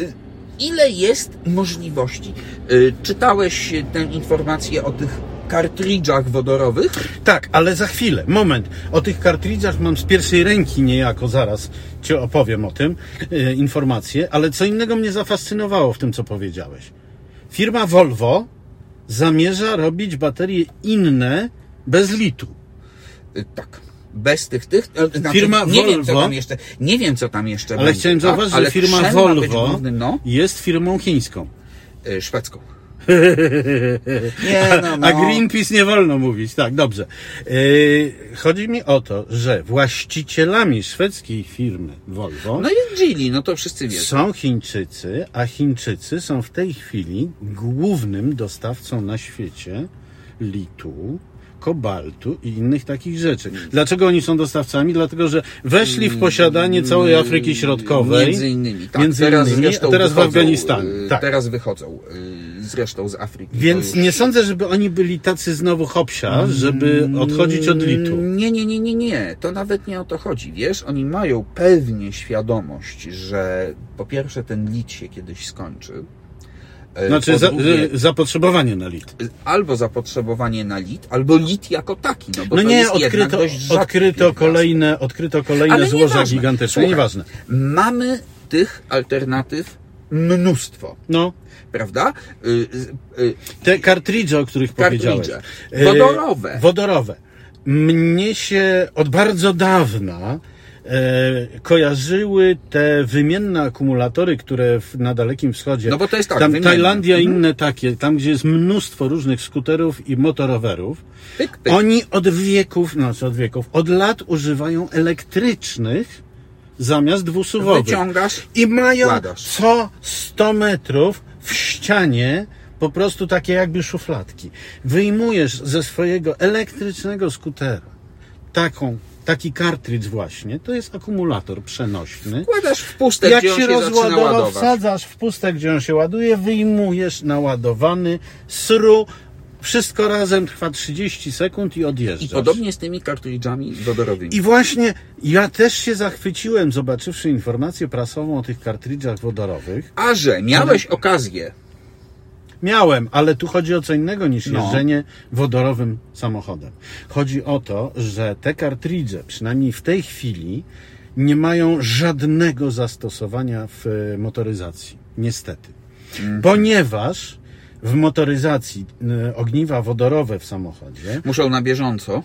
y, ile jest możliwości. Y, Czytałeś y, tę informację o tych kartridżach wodorowych?
Tak, ale za chwilę, moment. O tych kartridżach mam z pierwszej ręki niejako, zaraz Ci opowiem o tym, e, informacje, ale co innego mnie zafascynowało w tym, co powiedziałeś. Firma Volvo zamierza robić baterie inne bez litu.
Y, Tak. Bez tych, tych, e, znaczy,
Firma
nie wiem, co
Volvo-
tam jeszcze, nie wiem, co tam jeszcze
Ale
będzie,
chciałem
tak?
zauważyć,
Ale
że firma
trzeba być
Volvo
Głównym, no,
jest firmą chińską.
y,
(laughs)
szwedzką. Nie, no, no.
A Greenpeace nie wolno mówić, tak, dobrze. Yy, chodzi mi o to, że właścicielami szwedzkiej firmy Volvo
No jest Gili, no to wszyscy wiedzą.
są Chińczycy, a Chińczycy są w tej chwili głównym dostawcą na świecie litu, kobaltu i innych takich rzeczy.
Mm.
Dlaczego oni są dostawcami? Dlatego, że weszli w posiadanie całej Afryki Środkowej.
Y, Mm. Między innymi, tak.
między
teraz
innymi,
zresztą
a teraz w
wychodzą,
Afganistanie.
y,
Tak.
Teraz wychodzą y, zresztą z Afryki.
Więc
to już-
nie sądzę, żeby oni byli tacy znowu
Mm.
hopsia, żeby odchodzić od litu.
Nie, nie, nie, nie, nie. To nawet nie o to chodzi. Wiesz, oni mają pewnie świadomość, że po pierwsze ten lit się kiedyś skończy. y, po
Znaczy za,
drugie-
y, zapotrzebowanie na lit.
albo zapotrzebowanie na lit, albo lit jako taki, no bo
No
to
nie,
jest jednak
odkryto,
dość rzadki
odkryto,
pierwiastek.
kolejne, odkryto kolejne
Ale
złoża
nieważne.
gigantyczne,
Słuchaj,
nieważne.
Mamy tych alternatyw mnóstwo,
No,
prawda? Y, y, y,
te kartridże, o których powiedziałeś.
Kartridże.
E,
Wodorowe.
Wodorowe. Mnie się od bardzo dawna e, kojarzyły te wymienne akumulatory, które w, na Dalekim Wschodzie,
No bo to jest tak,
tam
wymienne.
Tajlandia i
Mhm.
inne takie, tam gdzie jest mnóstwo różnych skuterów i motorowerów,
pyk, pyk.
Oni od wieków, znaczy od wieków, od lat używają elektrycznych zamiast dwusuwowych.
Wyciągasz
I mają
Wkładasz.
co 100 metrów w ścianie po prostu takie jakby szufladki. Wyjmujesz ze swojego elektrycznego skutera taką, taki kartridż właśnie, to jest akumulator przenośny.
Kładasz w puste,
Jak
gdzie on
się
się zaczyna
rozładował,
ładować.
wsadzasz w puste, gdzie on się ładuje, wyjmujesz naładowany sru, wszystko razem trwa 30 sekund i odjeżdżasz.
I podobnie z tymi kartridżami wodorowymi.
I właśnie ja też się zachwyciłem, zobaczywszy informację prasową o tych kartridżach wodorowych.
A że miałeś okazję,
Miałem, ale tu chodzi o co innego niż
No.
jeżdżenie wodorowym samochodem. Chodzi o to, że te kartridże, przynajmniej w tej chwili, nie mają żadnego zastosowania w e, motoryzacji. Niestety.
Mhm.
Ponieważ w motoryzacji e, ogniwa wodorowe w samochodzie
muszą na bieżąco.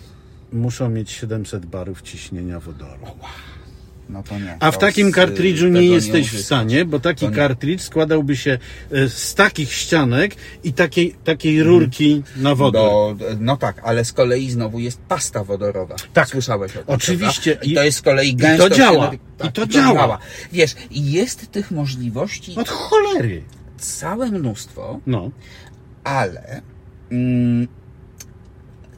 muszą mieć 700 barów ciśnienia wodoru.
No to nie.
A w
to
takim
z, y,
kartridżu
tego
nie jesteś w
uzyskasz.
stanie, bo taki
To nie.
kartridż składałby się e, z takich ścianek i takiej,
Mhm.
takiej rurki na wodę.
Bo, no tak, ale z kolei znowu jest pasta wodorowa.
Tak.
Słyszałeś o tym.
Oczywiście.
Prawda? I to jest z kolei
I to
gęstość. Tak,
działa.
kaloryczna.
I to działa. No.
Wiesz, jest tych możliwości
Od cholery.
całe mnóstwo,
No.
ale mm,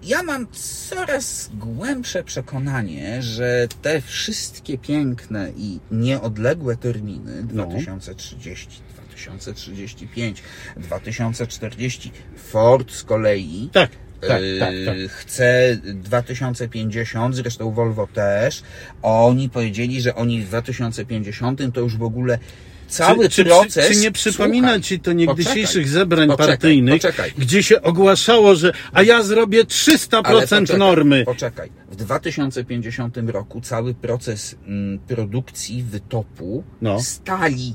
ja mam coraz głębsze przekonanie, że te wszystkie piękne i nieodległe terminy
No.
2030, 2035, 2040, Ford z kolei
Tak, tak, tak, tak.
Yy, Chce 2050, zresztą Volvo też. Oni powiedzieli, że oni w 2050 to już w ogóle cały
czy,
proces.
Czy, czy nie przypomina
Słuchaj,
ci to niegdysiejszych
poczekaj,
zebrań
poczekaj,
partyjnych,
Poczekaj,
gdzie się ogłaszało, że a ja zrobię 300%
ale poczekaj,
normy.
Poczekaj. W 2050 roku cały proces mm, produkcji wytopu
No.
stali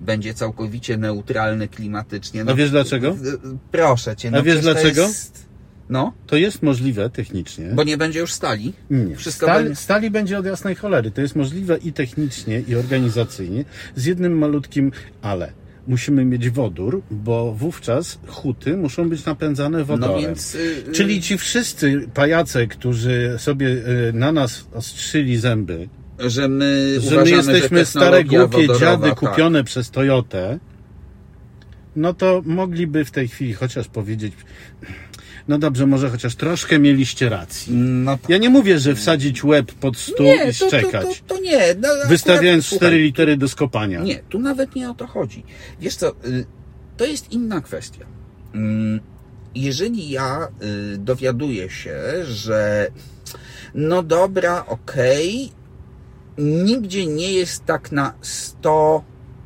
będzie całkowicie neutralny klimatycznie.
A wiesz dlaczego?
y, y, Proszę cię.
A wiesz
przecież to
dlaczego?
Jest, no,
To jest możliwe technicznie.
bo nie będzie już stali.
Nie.
Wszystko
Stal,
będzie-
Stali będzie od jasnej cholery. To jest możliwe i technicznie, i organizacyjnie, z jednym malutkim ale. musimy mieć wodór, bo wówczas huty muszą być napędzane wodorem.
No więc, y, y-
Czyli ci wszyscy pajace, którzy sobie y, na nas ostrzyli zęby,
Że my,
że my
uważamy,
jesteśmy
że
stare
technologia
głupie
wodorowa,
dziady
tak.
kupione przez Toyotę, no to mogliby w tej chwili chociaż powiedzieć, no dobrze, może chociaż troszkę mieliście racji.
No tak.
Ja nie mówię, że wsadzić łeb pod stół
to,
i
to, to,
szczekać,
to nie. No, akurat-
wystawiając
słuchaj,
cztery litery do skopania.
Nie, tu nawet nie o to chodzi. Wiesz co, y, to jest inna kwestia. Mm, Jeżeli ja y, dowiaduję się, że no dobra, okej, nigdzie nie jest tak na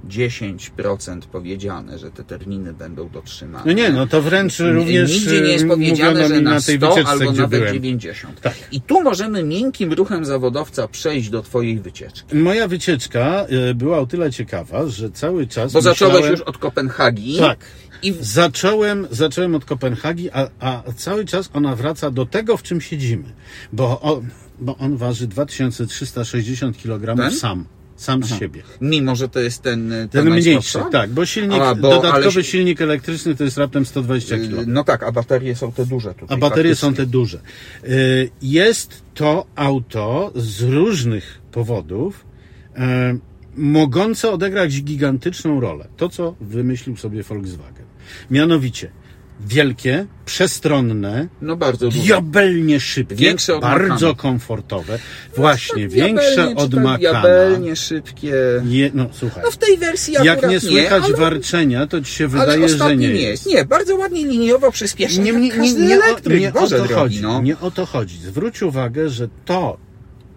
110% powiedziane, że te terminy będą dotrzymane.
No nie, no to wręcz również
Nigdzie nie jest
y,
powiedziane,
mówiono
że
mi
na
na tej
100
wycieczce,
albo
gdzie
nawet
byłem.
90.
Tak.
I tu możemy miękkim ruchem zawodowca przejść do Twojej wycieczki.
Moja wycieczka y, była o tyle ciekawa, że cały czas
Bo zacząłeś
myślałem-
już od Kopenhagi.
Tak.
I w...
Zacząłem, zacząłem od Kopenhagi, a, a cały czas ona wraca do tego, w czym siedzimy. Bo on, bo on waży 2360 kg
Ten?
sam. Sam z siebie.
Mimo, że to jest ten... y, ta
Ten mniejszy,
najsłabsza?
tak, bo silnik,
A, bo-
dodatkowy
ale-
silnik elektryczny to jest raptem 120
Y,
kg.
No tak, a baterie są te duże tutaj.
A baterie
faktycznie.
są te duże. Y, Jest to auto z różnych powodów y, mogące odegrać gigantyczną rolę. To, co wymyślił sobie Volkswagen. Mianowicie wielkie, przestronne,
No bardzo duże.
diabelnie szybkie,
Większe od
bardzo
Makana.
komfortowe. Właśnie,
Tak
większe
diabelnie,
od
czy tak
Makana.
Diabelnie szybkie.
Je, no słuchaj,
No w tej wersji
jak
akurat
nie słychać
ale...
warczenia, to ci się
ale
wydaje, że
ostatni
nie
nie
jest.
Nie, bardzo ładnie liniowo przyspiesza.
nie,
jak
nie, nie,
każdy
nie, o,
elektryk.
nie o
Boże
to
drogi,
chodzi.
no.
Nie o to chodzi. Zwróć uwagę, że to,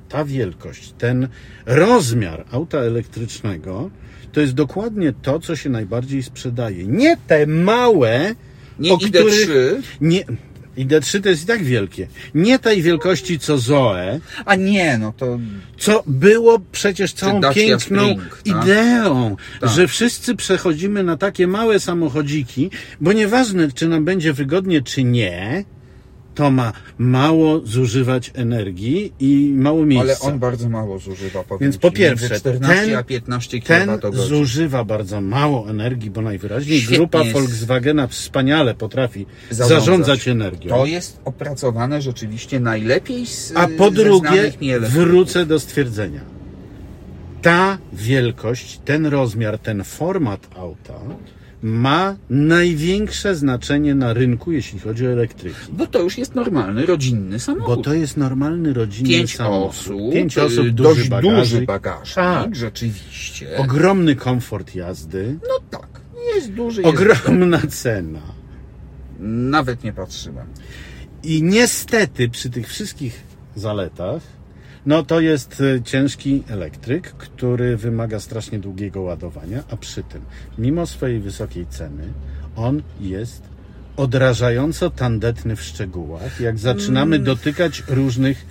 ta wielkość, ten rozmiar auta elektrycznego, to jest dokładnie to, co się najbardziej sprzedaje. Nie te małe,
Nie
o
idę
których...
trzy.
Nie, ID3 to jest i tak wielkie. Nie tej wielkości, co Zoe,
A nie, no to
co było przecież całą
Dacia
piękną
Spring, tak?
ideą,
Tak.
że wszyscy przechodzimy na takie małe samochodziki, bo nieważne, czy nam będzie wygodnie, czy nie, to ma mało zużywać energii i mało
Ale
miejsca.
on bardzo mało zużywa, powiem
Więc
ci.
po pierwsze,
Między 14
ten-
a 15
Ten
kWh.
zużywa bardzo mało energii, bo najwyraźniej
Świetnie
grupa
jest.
Volkswagena wspaniale potrafi
Zarządzać.
zarządzać, energią.
To jest opracowane rzeczywiście najlepiej z
A po
ze
drugie,
znanych mi elementów.
wrócę do stwierdzenia. Ta wielkość, ten rozmiar, ten format auta ma największe znaczenie na rynku, jeśli chodzi o elektryki.
Bo to już jest normalny, rodzinny
Bo
samochód.
to jest normalny rodzinny
Pięć
samochód.
osób,
Pięć
y,
osób,
dość
duży
duży
bagażnik,
bagażnik,
Tak.
rzeczywiście.
ogromny komfort jazdy,
no tak, jest duży, jest...
ogromna cena.
nawet nie patrzyłem.
I niestety przy tych wszystkich zaletach, no to jest e, ciężki elektryk, który wymaga strasznie długiego ładowania, a przy tym, mimo swojej wysokiej ceny, on jest odrażająco tandetny w szczegółach, jak zaczynamy
Mm.
dotykać różnych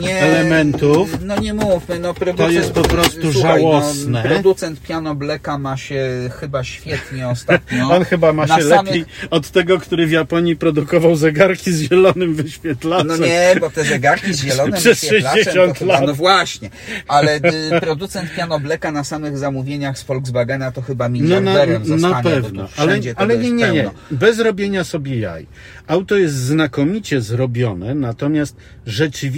Nie,
elementów.
No nie mówmy, no producent,
To jest po prostu
słuchaj,
żałosne.
No, producent Piano Bleka ma się chyba świetnie ostatnio.
(laughs) On chyba ma
No, Na
się
samych-
lepiej od tego, który w Japonii produkował zegarki z zielonym wyświetlaczem.
No nie, bo te zegarki z zielonym
Przez
wyświetlaczem to
60
chyba,
lat.
no właśnie. Ale y, producent Piano Bleka na samych zamówieniach z Volkswagena to chyba miliarderem zostanie.
na
bo tu
No, pewno, ale,
wszędzie tego
ale nie,
jest
nie, nie.
pełno.
Bez robienia sobie jaj. Auto jest znakomicie zrobione, natomiast rzeczywiście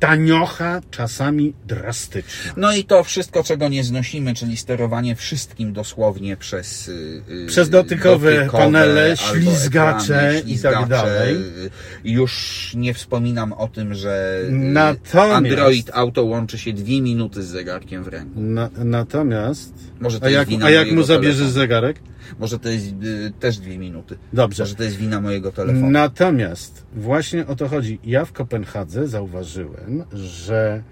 taniocha czasami drastyczna.
No i to wszystko, czego nie znosimy, czyli sterowanie wszystkim dosłownie przez... y, y,
Przez dotykowe panele,
albo
ślizgacze i tak dalej.
y, Już nie wspominam o tym, że y,
Natomiast-
Android Auto łączy się dwie minuty z zegarkiem w ręku.
Na, natomiast.
Może to
A
jest
jak,
wina
a jak
mojego
mu zabierzesz
telefonu.
zegarek?
Może to jest y, też dwie minuty.
Dobrze.
Może to jest wina mojego telefonu.
Natomiast właśnie o to chodzi. Ja w Kopenhadze zauważyłem, że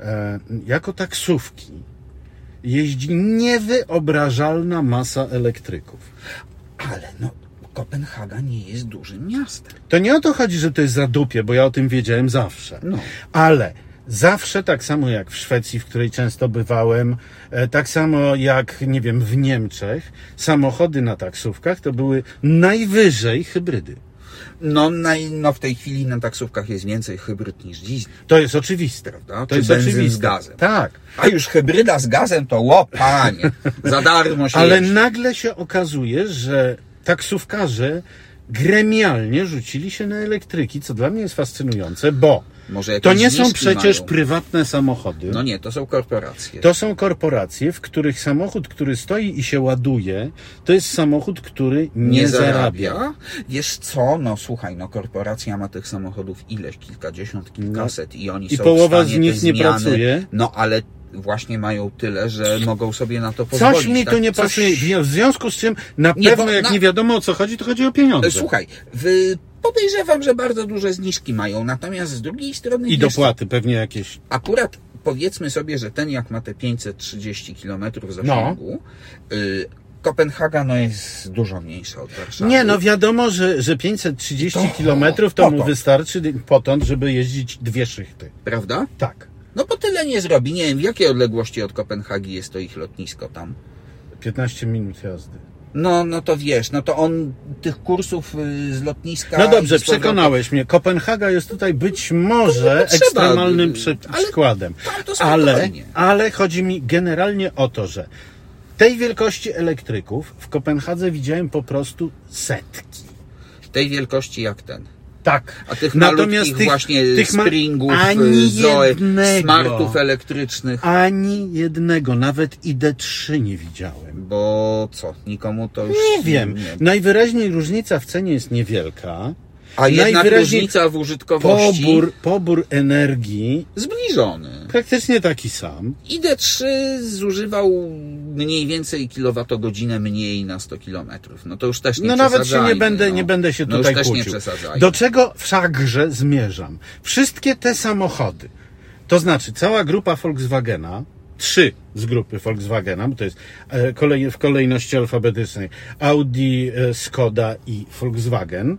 e, jako taksówki jeździ niewyobrażalna masa elektryków.
Ale no, Kopenhaga nie jest dużym miastem.
To nie o to chodzi, że to jest za dupie, bo ja o tym wiedziałem zawsze.
No.
Ale zawsze tak samo jak w Szwecji, w której często bywałem, e, tak samo jak, nie wiem, w Niemczech, samochody na taksówkach to były najwyżej hybrydy.
No, na, no w tej chwili na taksówkach jest więcej hybryd niż diesel,
To jest oczywiste.
prawda?
To
Czy
jest
benzyn
oczywiste.
z gazem.
Tak.
A już hybryda z gazem to łopanie. Za darmo się
Ale
jeździ.
nagle się okazuje, że taksówkarze gremialnie rzucili się na elektryki, co dla mnie jest fascynujące, bo
Może
to
jakieś
nie są
zniżki
przecież
mają.
prywatne samochody.
No nie, to są korporacje.
To są korporacje, w których samochód, który stoi i się ładuje, to jest samochód, który nie, zarabia.
Wiesz co? No słuchaj, no korporacja ma tych samochodów ileś, kilkadziesiąt, kilkaset i oni
No I
są
połowa
w stanie
z nich
te
nie
zmiany,
pracuje.
No ale właśnie mają tyle, że mogą sobie na to pozwolić.
Coś mi
tak?
tu nie
Coś-
pasuje. W związku z czym na
Nie,
pewno
bo
jak
na-
nie wiadomo o co chodzi, to chodzi o pieniądze.
E, Słuchaj, w... podejrzewam, że bardzo duże zniżki mają, natomiast z drugiej strony...
I
wiesz Tak. co?
dopłaty pewnie jakieś.
akurat powiedzmy sobie, że ten jak ma te 530 km zasięgu,
No.
y, Kopenhaga no jest dużo mniejsza od Warszawy.
Nie, no wiadomo, że, że 530
To-
kilometrów to mu
potąd.
wystarczy potąd, żeby jeździć dwie szychty.
Prawda?
Tak.
No bo tyle nie zrobi. Nie wiem, w jakiej odległości od Kopenhagi jest to ich lotnisko tam.
15 minut jazdy.
No, no to wiesz, no to on tych kursów y, z lotniska...
No dobrze,
i z powrotem-
przekonałeś mnie. Kopenhaga jest tutaj
No,
być może
trzeba,
ekstremalnym
y,
przy-
ale-
przykładem.
Tam to
Ale,
spokojnie.
ale chodzi mi generalnie o to, że tej wielkości elektryków w Kopenhadze widziałem po prostu setki.
Tej wielkości jak ten.
Tak.
A tych
Natomiast
malutkich
tych-
właśnie
tych ma-
springów,
ani
y, zoe,
jednego.
smartów elektrycznych.
Ani jednego, nawet ID3 nie widziałem.
Bo co, nikomu to już...
Nie wiem. Najwyraźniej różnica w cenie jest niewielka.
A jednak
Najwyraźniej
różnica w użytkowości
Pobór, pobór energii
zbliżony.
praktycznie taki sam.
ID3 zużywał mniej więcej kilowatogodzinę mniej na 100 kilometrów. No to już też nie
No nawet się nie
przesadzajmy,
będę,
no.
nie będę się
No
tutaj
już też nie
kłócił.
przesadzajmy.
Do czego wszakże zmierzam? Wszystkie te samochody, to znaczy cała grupa Volkswagena, trzy z grupy Volkswagena, bo to jest e, kolej, w kolejności alfabetycznej Audi, e, Skoda i Volkswagen,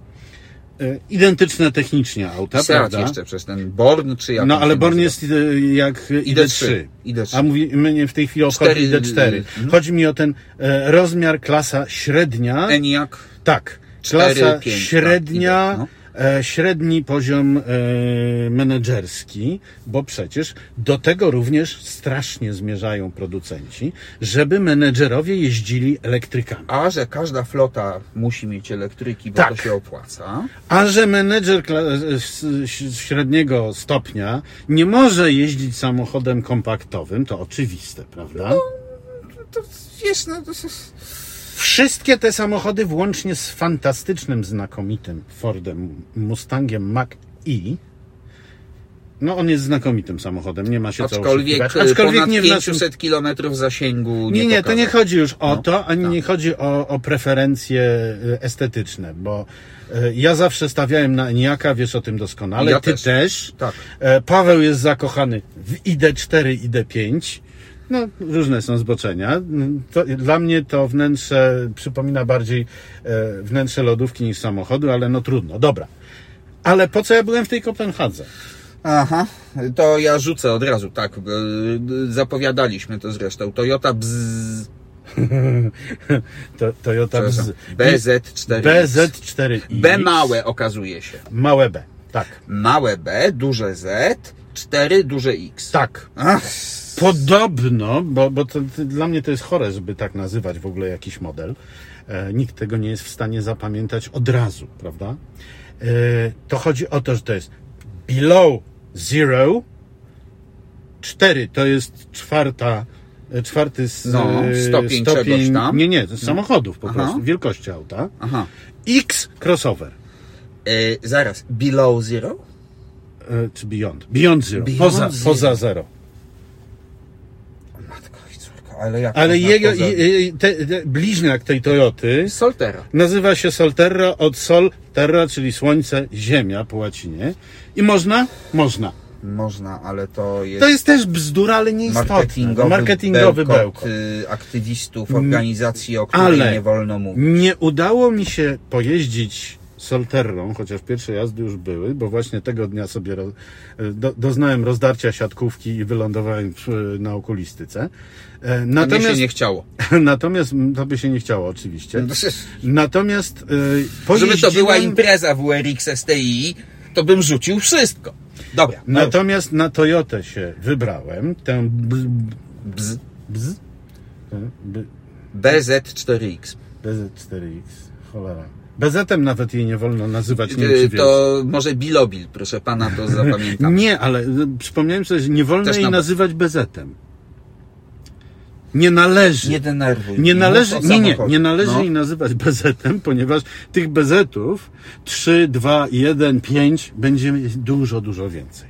e, identyczne technicznie auta,
Seat
prawda?
jeszcze przez ten Born czy jak
No
on
ale
się
Born
nazywa?
jest e, jak e, ID3.
ID3.
A mówi, mnie w tej chwili obchodzi
Cztery,
ID4.
mhm.
Chodzi mi o ten e, rozmiar klasa średnia.
Eniak
Tak.
Cztery,
klasa
pięć, tak, no.
średnia,
idę,
e, średni poziom e, menedżerski, bo przecież do tego również strasznie zmierzają producenci, żeby menedżerowie jeździli elektrykami.
A, że każda flota musi mieć elektryki, bo
Tak.
to się opłaca.
A że menedżer kla- e, s- s- średniego stopnia nie może jeździć samochodem kompaktowym, to oczywiste, prawda?
To wiesz, no to jest...
Wszystkie te samochody, włącznie z fantastycznym, znakomitym Fordem Mustangiem Mach E, no on jest znakomitym samochodem, nie ma się co
Aczkolwiek, y,
oszukiwać.
ponad
nie w naszym...
500 kilometrów zasięgu
Nie, nie, to nie
pokazał.
chodzi już o
No,
to, ani
tak.
nie chodzi o, o preferencje y, estetyczne, bo y, ja zawsze stawiałem na Eniaka, wiesz o tym doskonale,
Ja
ty też.
też. Tak.
E, Paweł jest zakochany w ID4, ID5. No, różne są zboczenia. Mm, To, dla mnie to wnętrze przypomina bardziej e, wnętrze lodówki niż samochodu, ale no trudno, dobra. Ale po co ja byłem w tej Kopenhadze? (laughs)
Aha, to ja rzucę od razu, tak. y, y, Zapowiadaliśmy to zresztą. Toyota Bzz,
To, Toyota
przepraszam,
Bz,
BZ4.
BZ4.
B małe okazuje się.
Małe B. Tak,
Małe B, duże Z, 4, duże X.
tak.
Ach,
Podobno, bo, bo to, to, dla mnie to jest chore, żeby tak nazywać w ogóle jakiś model. E, nikt tego nie jest w stanie zapamiętać od razu, prawda? E, to chodzi o to, że to jest below zero, cztery to jest czwarta, e, czwarty z,
No,
e,
stopień czegoś tam. No.
Nie, nie, z samochodów po
Aha.
prostu, wielkości auta.
aha.
X crossover,
Y, zaraz, below zero?
e, czy beyond? Beyond zero,
Beyond
poza,
zero.
poza zero.
Matko i córko, ale jak
Ale
można
jego,
poza-
i- i- te, te, bliźniak tej Toyoty
Soltera.
Nazywa się Solterra od Sol Terra, czyli Słońce, Ziemia po łacinie. I można? Można.
Można, ale to jest...
To jest też bzdura, ale nieistotna.
Marketingowy,
Marketingowy
bełkot,
bełkot.
y, aktywistów, organizacji, o której
ale-
nie wolno mówić.
Nie udało mi się pojeździć Solterrą, chociaż pierwsze jazdy już były, bo właśnie tego dnia sobie roz, e, do, doznałem rozdarcia siatkówki i wylądowałem w, e, na okulistyce.
Natomiast...
E,
Mnie się
Natomiast,
nie chciało.
(laughs) natomiast to by się nie chciało oczywiście. Natomiast
(laughs)
e,
Żeby to była
pojeździłem-
impreza w URX STI, to bym rzucił wszystko. Dobra. no.
Natomiast na Toyotę się wybrałem, tę bz,
Bz,
bz, tę b-
BZ4X.
BZ4X, cholera. BZ-em nawet jej nie wolno nazywać, nie
Y,
wiem, czy wiesz.
To może Bilobil, proszę pana, to zapamiętam.
Nie, ale y, przypomniałem sobie, że nie wolno
Też
jej
na B.
nazywać BZ-em. Nie
(laughs)
należy.
Nie denerwuj.
Nie
Mów
należy,
No, o
nie, nie,
samochodzie.
nie należy
No.
jej nazywać bezetem, ponieważ tych bezetów 3, 2, 1, 5 będzie dużo, dużo więcej.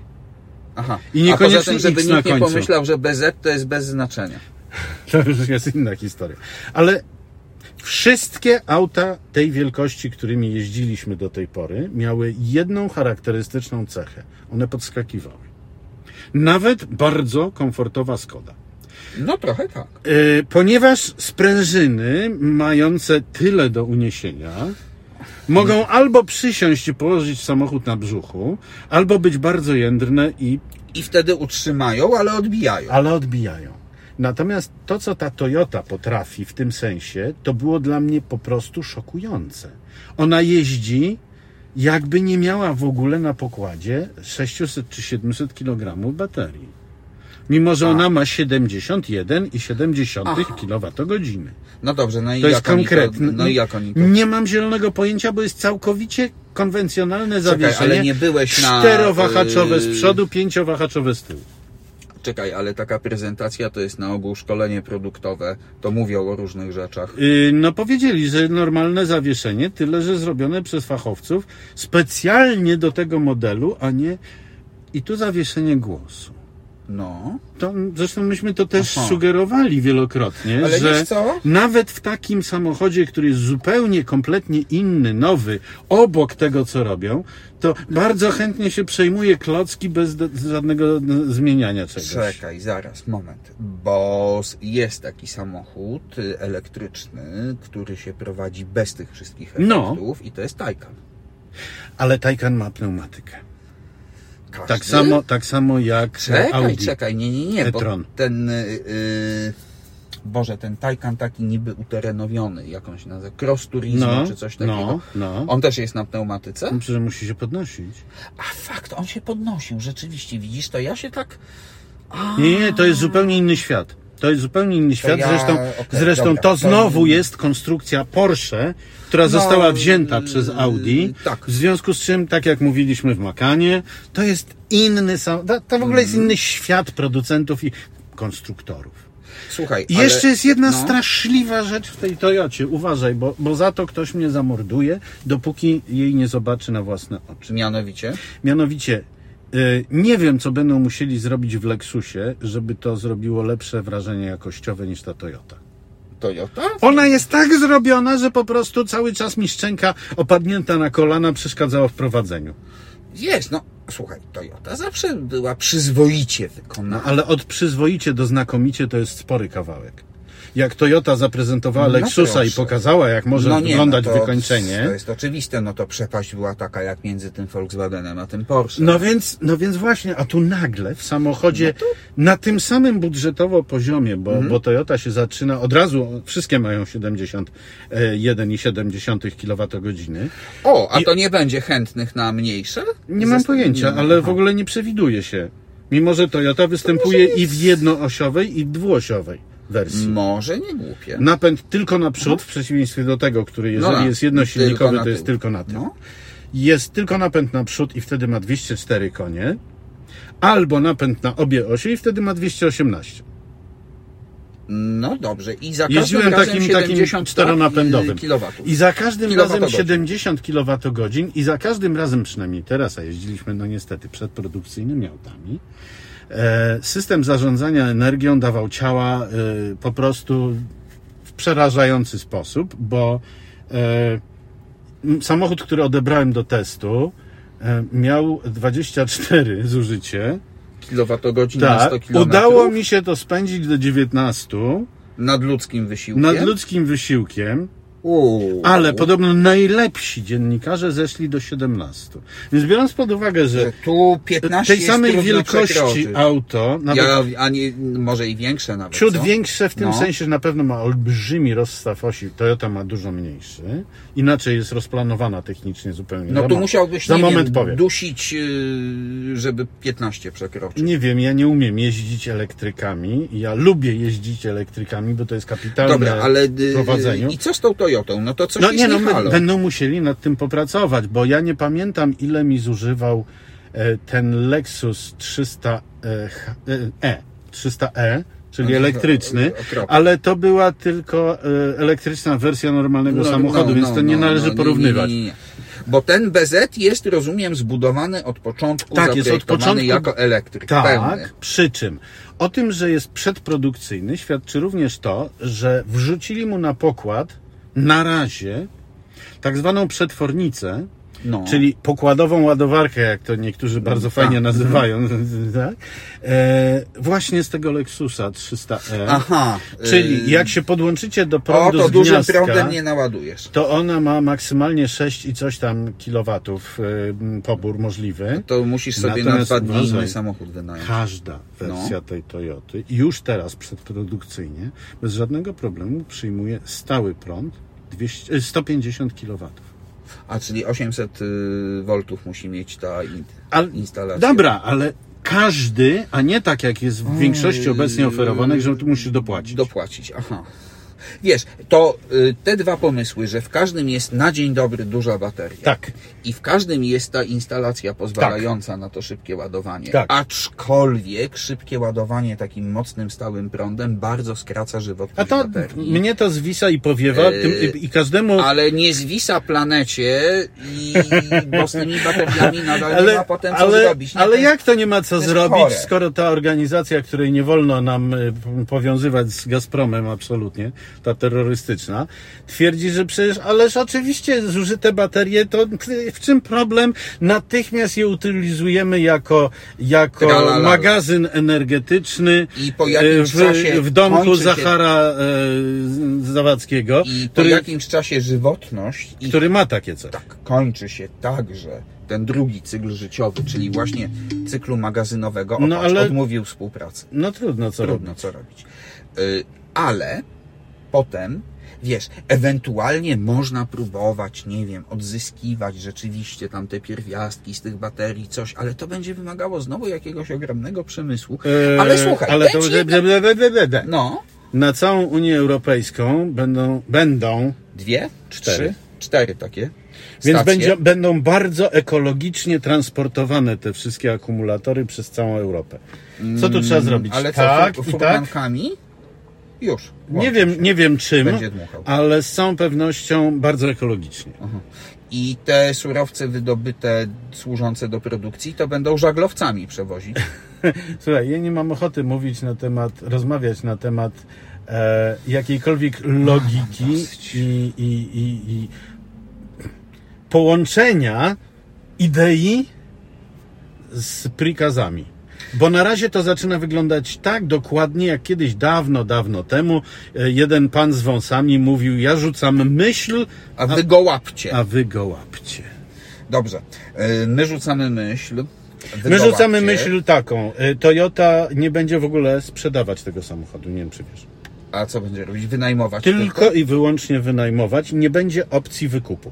Aha.
I niekoniecznie
A poza tym, żeby nikt
X na
nie
końcu.
pomyślał, że BZ to jest bez znaczenia.
(laughs) To już jest inna historia. Ale wszystkie auta tej wielkości, którymi jeździliśmy do tej pory, miały jedną charakterystyczną cechę. One podskakiwały. Nawet bardzo komfortowa Skoda.
No trochę tak.
E, Ponieważ sprężyny mające tyle do uniesienia mogą albo przysiąść i położyć samochód na brzuchu, albo być bardzo jędrne i
I wtedy utrzymają, ale odbijają.
ale odbijają. Natomiast to, co ta Toyota potrafi w tym sensie, to było dla mnie po prostu szokujące. Ona jeździ, jakby nie miała w ogóle na pokładzie 600 czy 700 kg baterii. Mimo, że ona ma 71,7 kWh.
No dobrze, no i
To jest
jak
Mm.
oni
konkretne.
To, no i jak oni to...
Nie mam zielonego pojęcia, bo jest całkowicie konwencjonalne
Czekaj,
zawieszenie.
ale nie byłeś na...
Czterowahaczowe
y,
z przodu, pięciowahaczowe z tyłu.
Czekaj, ale taka prezentacja to jest na ogół szkolenie produktowe. To mówią o różnych rzeczach.
Yy, No powiedzieli, że normalne zawieszenie, tyle że zrobione przez fachowców specjalnie do tego modelu, a nie i tu zawieszenie głosu.
No.
To, zresztą myśmy to też
Aha.
sugerowali wielokrotnie,
Ale
że
wiesz co?
nawet w takim samochodzie, który jest zupełnie kompletnie inny, nowy, obok tego co robią, to bardzo chętnie się przejmuje klocki bez do- żadnego n- zmieniania czegoś.
Czekaj, zaraz, moment. Bo s- jest taki samochód y, elektryczny, który się prowadzi bez tych wszystkich
No.
efektów i to jest Taycan.
Ale Taycan ma pneumatykę.
Każdy?
Tak samo, tak samo jak e,
Czekaj,
Audi.
czekaj, nie, nie, nie, bo
e-tron.
ten... y, y, Boże, ten Taycan taki niby uterenowiony, jakąś nazywa, cross turismo czy coś takiego.
No, Mm. no.
On też jest na pneumatyce?
Myślę, że musi się podnosić.
A fakt, on się podnosił, rzeczywiście, widzisz, to ja się tak...
Nie, nie, to jest zupełnie inny świat. To jest zupełnie inny świat.
ja-
Zresztą,
okej,
zresztą
dobra,
to
to-
znowu jest konstrukcja Porsche, która została wzięta
yy,
przez Audi.
No, tak.
W związku z czym, tak jak mówiliśmy w Makanie, to jest inny sam. To, to w ogóle
Mm.
jest inny świat producentów i konstruktorów.
Słuchaj,
I
ale-
jeszcze jest jedna
no.
straszliwa rzecz w tej Toyocie. Uważaj, bo, bo za to ktoś mnie zamorduje, dopóki jej nie zobaczy na własne oczy.
Mianowicie?
Mianowicie, y, nie wiem, co będą musieli zrobić w Lexusie, żeby to zrobiło lepsze wrażenie jakościowe niż ta Toyota.
Toyota?
Ona jest tak zrobiona, że po prostu cały czas mi szczęka opadnięta na kolana przeszkadzała w prowadzeniu.
Jest, no słuchaj, Toyota zawsze była przyzwoicie no wykonana.
Ale od przyzwoicie do znakomicie to jest spory kawałek. Jak Toyota zaprezentowała Lexusa i
No proszę.
pokazała, jak może
no nie,
wyglądać
no to,
wykończenie.
To jest oczywiste, no to przepaść była taka jak między tym Volkswagenem a tym Porsche.
No więc, no więc właśnie, a tu nagle w samochodzie
No
na tym samym budżetowo poziomie, bo,
Mhm.
bo Toyota się zaczyna od razu, wszystkie mają 71,7 kWh.
O, a to nie będzie chętnych na mniejsze? Mm,
Nie mam
Zas-
pojęcia,
nie,
ale
aha.
w ogóle nie przewiduje się. Mimo, że Toyota występuje i w jednoosiowej, i dwuosiowej wersji.
Mm. Może nie głupie.
Napęd tylko na przód, w przeciwieństwie do tego, który No, jeżeli
No na-
jest jednosilnikowy,
tylko na
to jest
tył.
tylko na tył.
No.
jest tylko napęd na przód i wtedy ma 204 konie, albo napęd na obie osie i wtedy ma 218.
no dobrze, i za
Jeździłem
każdym razem
takim,
70
takim
tak,
czteronapędowym.
y, kilowatów.
I za każdym razem
Kilowatogodzin.
70 kWh i za każdym razem, przynajmniej teraz, a jeździliśmy no niestety przedprodukcyjnymi autami, e, system zarządzania energią dawał ciała e, po prostu w przerażający sposób, bo e, m, samochód, który odebrałem do testu, e, miał 24 zużycie.
Kilowatogodzin na
Tak,
100 km.
udało mi się to spędzić do 19
Nad ludzkim wysiłkiem.
nad ludzkim wysiłkiem.
Uuu.
Ale podobno najlepsi dziennikarze zeszli do 17. Więc biorąc pod uwagę, że
Tu 15
tej samej
jest trudno
wielkości
przekroczyć.
auto, nawet
Ja, a nie, może i większe nawet.
ciut
co?
większe w tym
No.
sensie, że na pewno ma olbrzymi rozstaw osi, Toyota ma dużo mniejszy, inaczej jest rozplanowana technicznie zupełnie.
No
Za
tu
mo-
musiałbyś
Za
nie
moment
wiem,
powiem.
dusić, yy, żeby 15 przekroczyć.
Nie wiem, ja nie umiem jeździć elektrykami. Ja lubię jeździć elektrykami, bo to jest kapitalne
Dobra, ale yy,
prowadzeniu.
i co z tą Toyotą? No to coś
No
jest
nie, no
nie halo.
my będą musieli nad tym popracować, bo ja nie pamiętam ile mi zużywał e, ten Lexus 300 e, H- e, e 300e, czyli
No,
elektryczny,
to- okropne.
ale to była tylko e, elektryczna wersja normalnego
No,
samochodu,
no,
więc
no,
to nie
no,
należy
no, nie,
porównywać.
nie, nie, nie. Bo ten BZ jest, rozumiem, zbudowany od początku,
Tak, jest od
zaprojektowany
początku-
jako elektryk pełny.
Tak, przy czym o tym, że jest przedprodukcyjny, świadczy również to, że wrzucili mu na pokład na razie tak zwaną przetwornicę,
No.
czyli pokładową ładowarkę, jak to niektórzy bardzo
Mhm.
fajnie nazywają, (laughs) tak? e, właśnie z tego Lexusa 300e.
Aha.
Czyli
y,
jak się podłączycie do
O,
prądu
to
z
dużym
gniazdka,
prądem nie naładujesz.
to ona ma maksymalnie 6 i coś tam kilowatów e, pobór możliwy.
To musisz sobie na
Natomiast
dwa dni
uważaj.
inny samochód wynająć.
Każda
No.
wersja tej Toyoty już teraz przedprodukcyjnie bez żadnego problemu przyjmuje stały prąd 200, e, 150 kW.
A czyli 800 y, voltów musi mieć ta in,
Ale-
instalacja.
Dobra, ale każdy, a nie tak jak jest w większości obecnie oferowanych, że tu musisz dopłacić.
Dopłacić, aha. Wiesz, to y, te dwa pomysły, że w każdym jest na dzień dobry duża bateria.
Tak.
I w każdym jest ta instalacja pozwalająca na to szybkie ładowanie.
Tak.
Aczkolwiek szybkie ładowanie takim mocnym, stałym prądem bardzo skraca żywotność
A to
baterii.
mnie to zwisa i powiewa tym, i, i każdemu.
Ale nie zwisa planecie, i, bo z tymi bateriami nadal nie ma potem co
ale,
zrobić. Nie,
ale
ten-
jak to nie ma co
jest
zrobić,
chore.
skoro ta organizacja, której nie wolno nam y, p- powiązywać z Gazpromem absolutnie, ta terrorystyczna, twierdzi, że przecież, ależ oczywiście zużyte baterie, to k- w czym problem? Natychmiast je utylizujemy jako, jako
Tralalala.
magazyn energetyczny
I po jakimś
y, w,
czasie
w domku
kończy się-
Zachara y, Zawadzkiego,
I po
który,
jakimś czasie żywotność i
który ma takie coś.
tak kończy się także ten drugi cykl życiowy, czyli właśnie cyklu magazynowego. O,
No,
patrz,
ale-
Odmówił współpracy.
No trudno, co robić.
Trudno co robić. Y, Ale potem, wiesz, ewentualnie można próbować, nie wiem, odzyskiwać rzeczywiście tam te pierwiastki z tych baterii, coś, ale to będzie wymagało znowu jakiegoś ogromnego przemysłu.
Eee,
Ale słuchaj,
ale to,
będzie-
ble, (laughs) ble, ble, ble, ble, ble.
No,
na całą Unię Europejską będą, będą
dwie,
Cztery.
trzy, cztery takie.
więc
stacje.
będzie, będą bardzo ekologicznie transportowane te wszystkie akumulatory przez całą Europę. Co tu trzeba zrobić?
Mm, Ale co,
tak
fu-
i tak.
furmankami? Już.
Nie wiem, nie wiem czym,
Będzie dmuchał.
ale z całą pewnością bardzo ekologicznie.
I te surowce wydobyte, służące do produkcji, to będą żaglowcami przewozić.
Słuchaj, ja nie mam ochoty mówić na temat, rozmawiać na temat e, jakiejkolwiek
(laughs)
logiki i, i, i, i połączenia idei z prikazami. Bo na razie to zaczyna wyglądać tak dokładnie, jak kiedyś dawno, dawno temu e, jeden pan z wąsami mówił: Ja rzucam myśl,
A wy go łapcie.
a wy go łapcie.
Dobrze. Y, My rzucamy myśl. wy
My
go
rzucamy
łapcie.
myśl taką: e, Toyota nie będzie w ogóle sprzedawać tego samochodu, nie wiem czy wiesz.
A co będzie robić? Wynajmować.
Tylko i wyłącznie wynajmować, nie będzie opcji wykupu.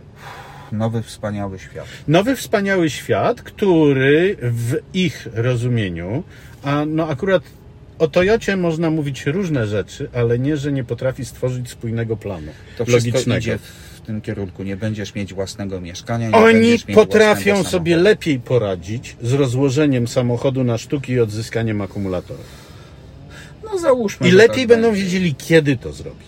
Nowy wspaniały świat.
Nowy wspaniały świat, który w ich rozumieniu, a no akurat o Toyocie można mówić różne rzeczy, ale nie, że nie potrafi stworzyć spójnego planu
To wszystko
logicznego.
idzie w tym kierunku. Nie będziesz mieć własnego mieszkania. Nie
Oni
będziesz mieć
potrafią
własnego
sobie
samochodu.
lepiej poradzić z rozłożeniem samochodu na sztuki i odzyskaniem akumulatora.
No załóżmy.
I
że
lepiej
tak
będą
będzie.
wiedzieli, kiedy to zrobić.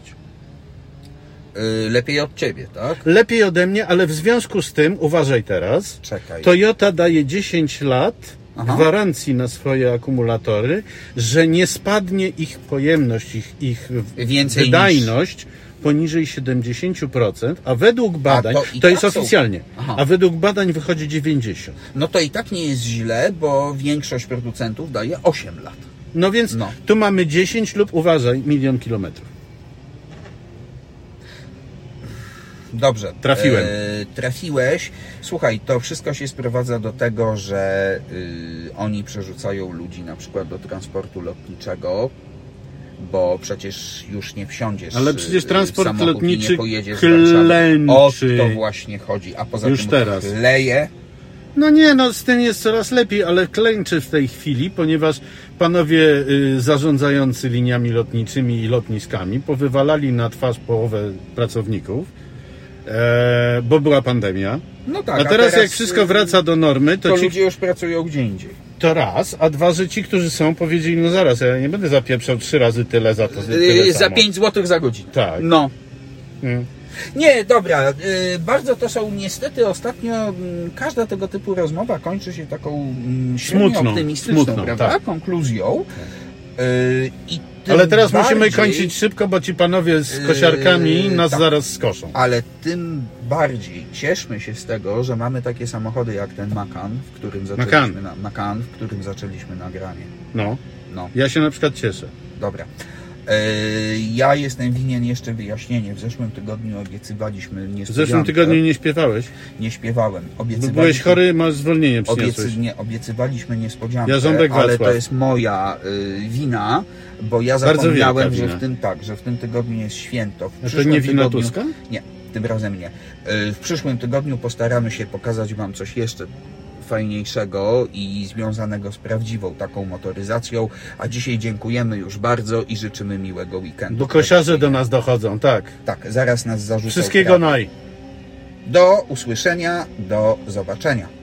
Y, Lepiej od ciebie, tak?
Lepiej ode mnie, ale w związku z tym, uważaj teraz,
Czekaj.
Toyota daje 10 lat
Aha.
gwarancji na swoje akumulatory, że nie spadnie ich pojemność, ich, ich w-
Więcej
wydajność poniżej 70%, a według badań,
to
to,
i
jest
tak są-
oficjalnie,
Aha.
a według badań wychodzi 90.
No to i tak nie jest źle, bo większość producentów daje 8 lat.
No więc
No.
tu mamy 10 lub uważaj, milion kilometrów.
Dobrze.
Trafiłem.
E, trafiłeś. Słuchaj, to wszystko się sprowadza do tego, że y, oni przerzucają ludzi na przykład do transportu lotniczego, bo przecież już nie wsiądziesz.
Ale
y,
przecież
y,
transport
samochód i
lotniczy
nie pojedziesz
klęczy.
Do Warszawy. o to właśnie chodzi. A poza
Już
tym
teraz.
leje.
No nie, no z tym jest coraz lepiej, ale klęczy w tej chwili, ponieważ panowie y, zarządzający liniami lotniczymi i lotniskami powywalali na twarz połowę pracowników, e, bo była pandemia.
No tak.
A teraz jak
y,
wszystko wraca do normy,
to
to ci
ludzie już pracują gdzie indziej.
to raz, a dwa, że ci, którzy są, powiedzieli, no zaraz, ja nie będę zapieprzał trzy razy tyle za to, tyle
Yy, za
samo.
5 zł za godzinę.
Tak.
No.
Mm.
Nie, dobra. y, Bardzo to są niestety ostatnio mm, każda tego typu rozmowa kończy się taką smutną,
Smutną,
optymistyczną
smutną,
prawda?
tak.
konkluzją. Y, i tym
Ale teraz
bardziej,
musimy kończyć szybko, bo ci panowie z kosiarkami
Yy,
nas
tak.
zaraz skoszą.
Ale tym bardziej cieszmy się z tego, że mamy takie samochody jak ten Macan, w którym zaczęliśmy,
Macan.
na, Macan, w którym zaczęliśmy nagranie.
No,
No.
ja się na przykład cieszę.
Dobra. E, Ja jestem winien jeszcze wyjaśnienie. W zeszłym tygodniu obiecywaliśmy
W
niespodziankę.
zeszłym tygodniu nie śpiewałeś,
Nie śpiewałem.
bo
Obiecywaliśmy,
byłeś chory, masz zwolnienie przyniosłeś.
Obiecy, nie, obiecywaliśmy niespodziankę,
Ja Ząbek
ale
Wacław.
to jest moja y, wina, bo ja
Bardzo
zapomniałem,
wielka
że
wina.
w tym tak, że w tym tygodniu jest święto. W
A to
przyszłym
nie wina
tygodniu,
Tuska?
Nie, tym razem nie. Y, W przyszłym tygodniu postaramy się pokazać Wam coś jeszcze fajniejszego i związanego z prawdziwą taką motoryzacją, a dzisiaj dziękujemy już bardzo i życzymy miłego weekendu.
Bo kosiarze do nas dochodzą, tak.
Tak, zaraz nas zarzucą.
Wszystkiego
prawda.
naj.
Do usłyszenia, do zobaczenia.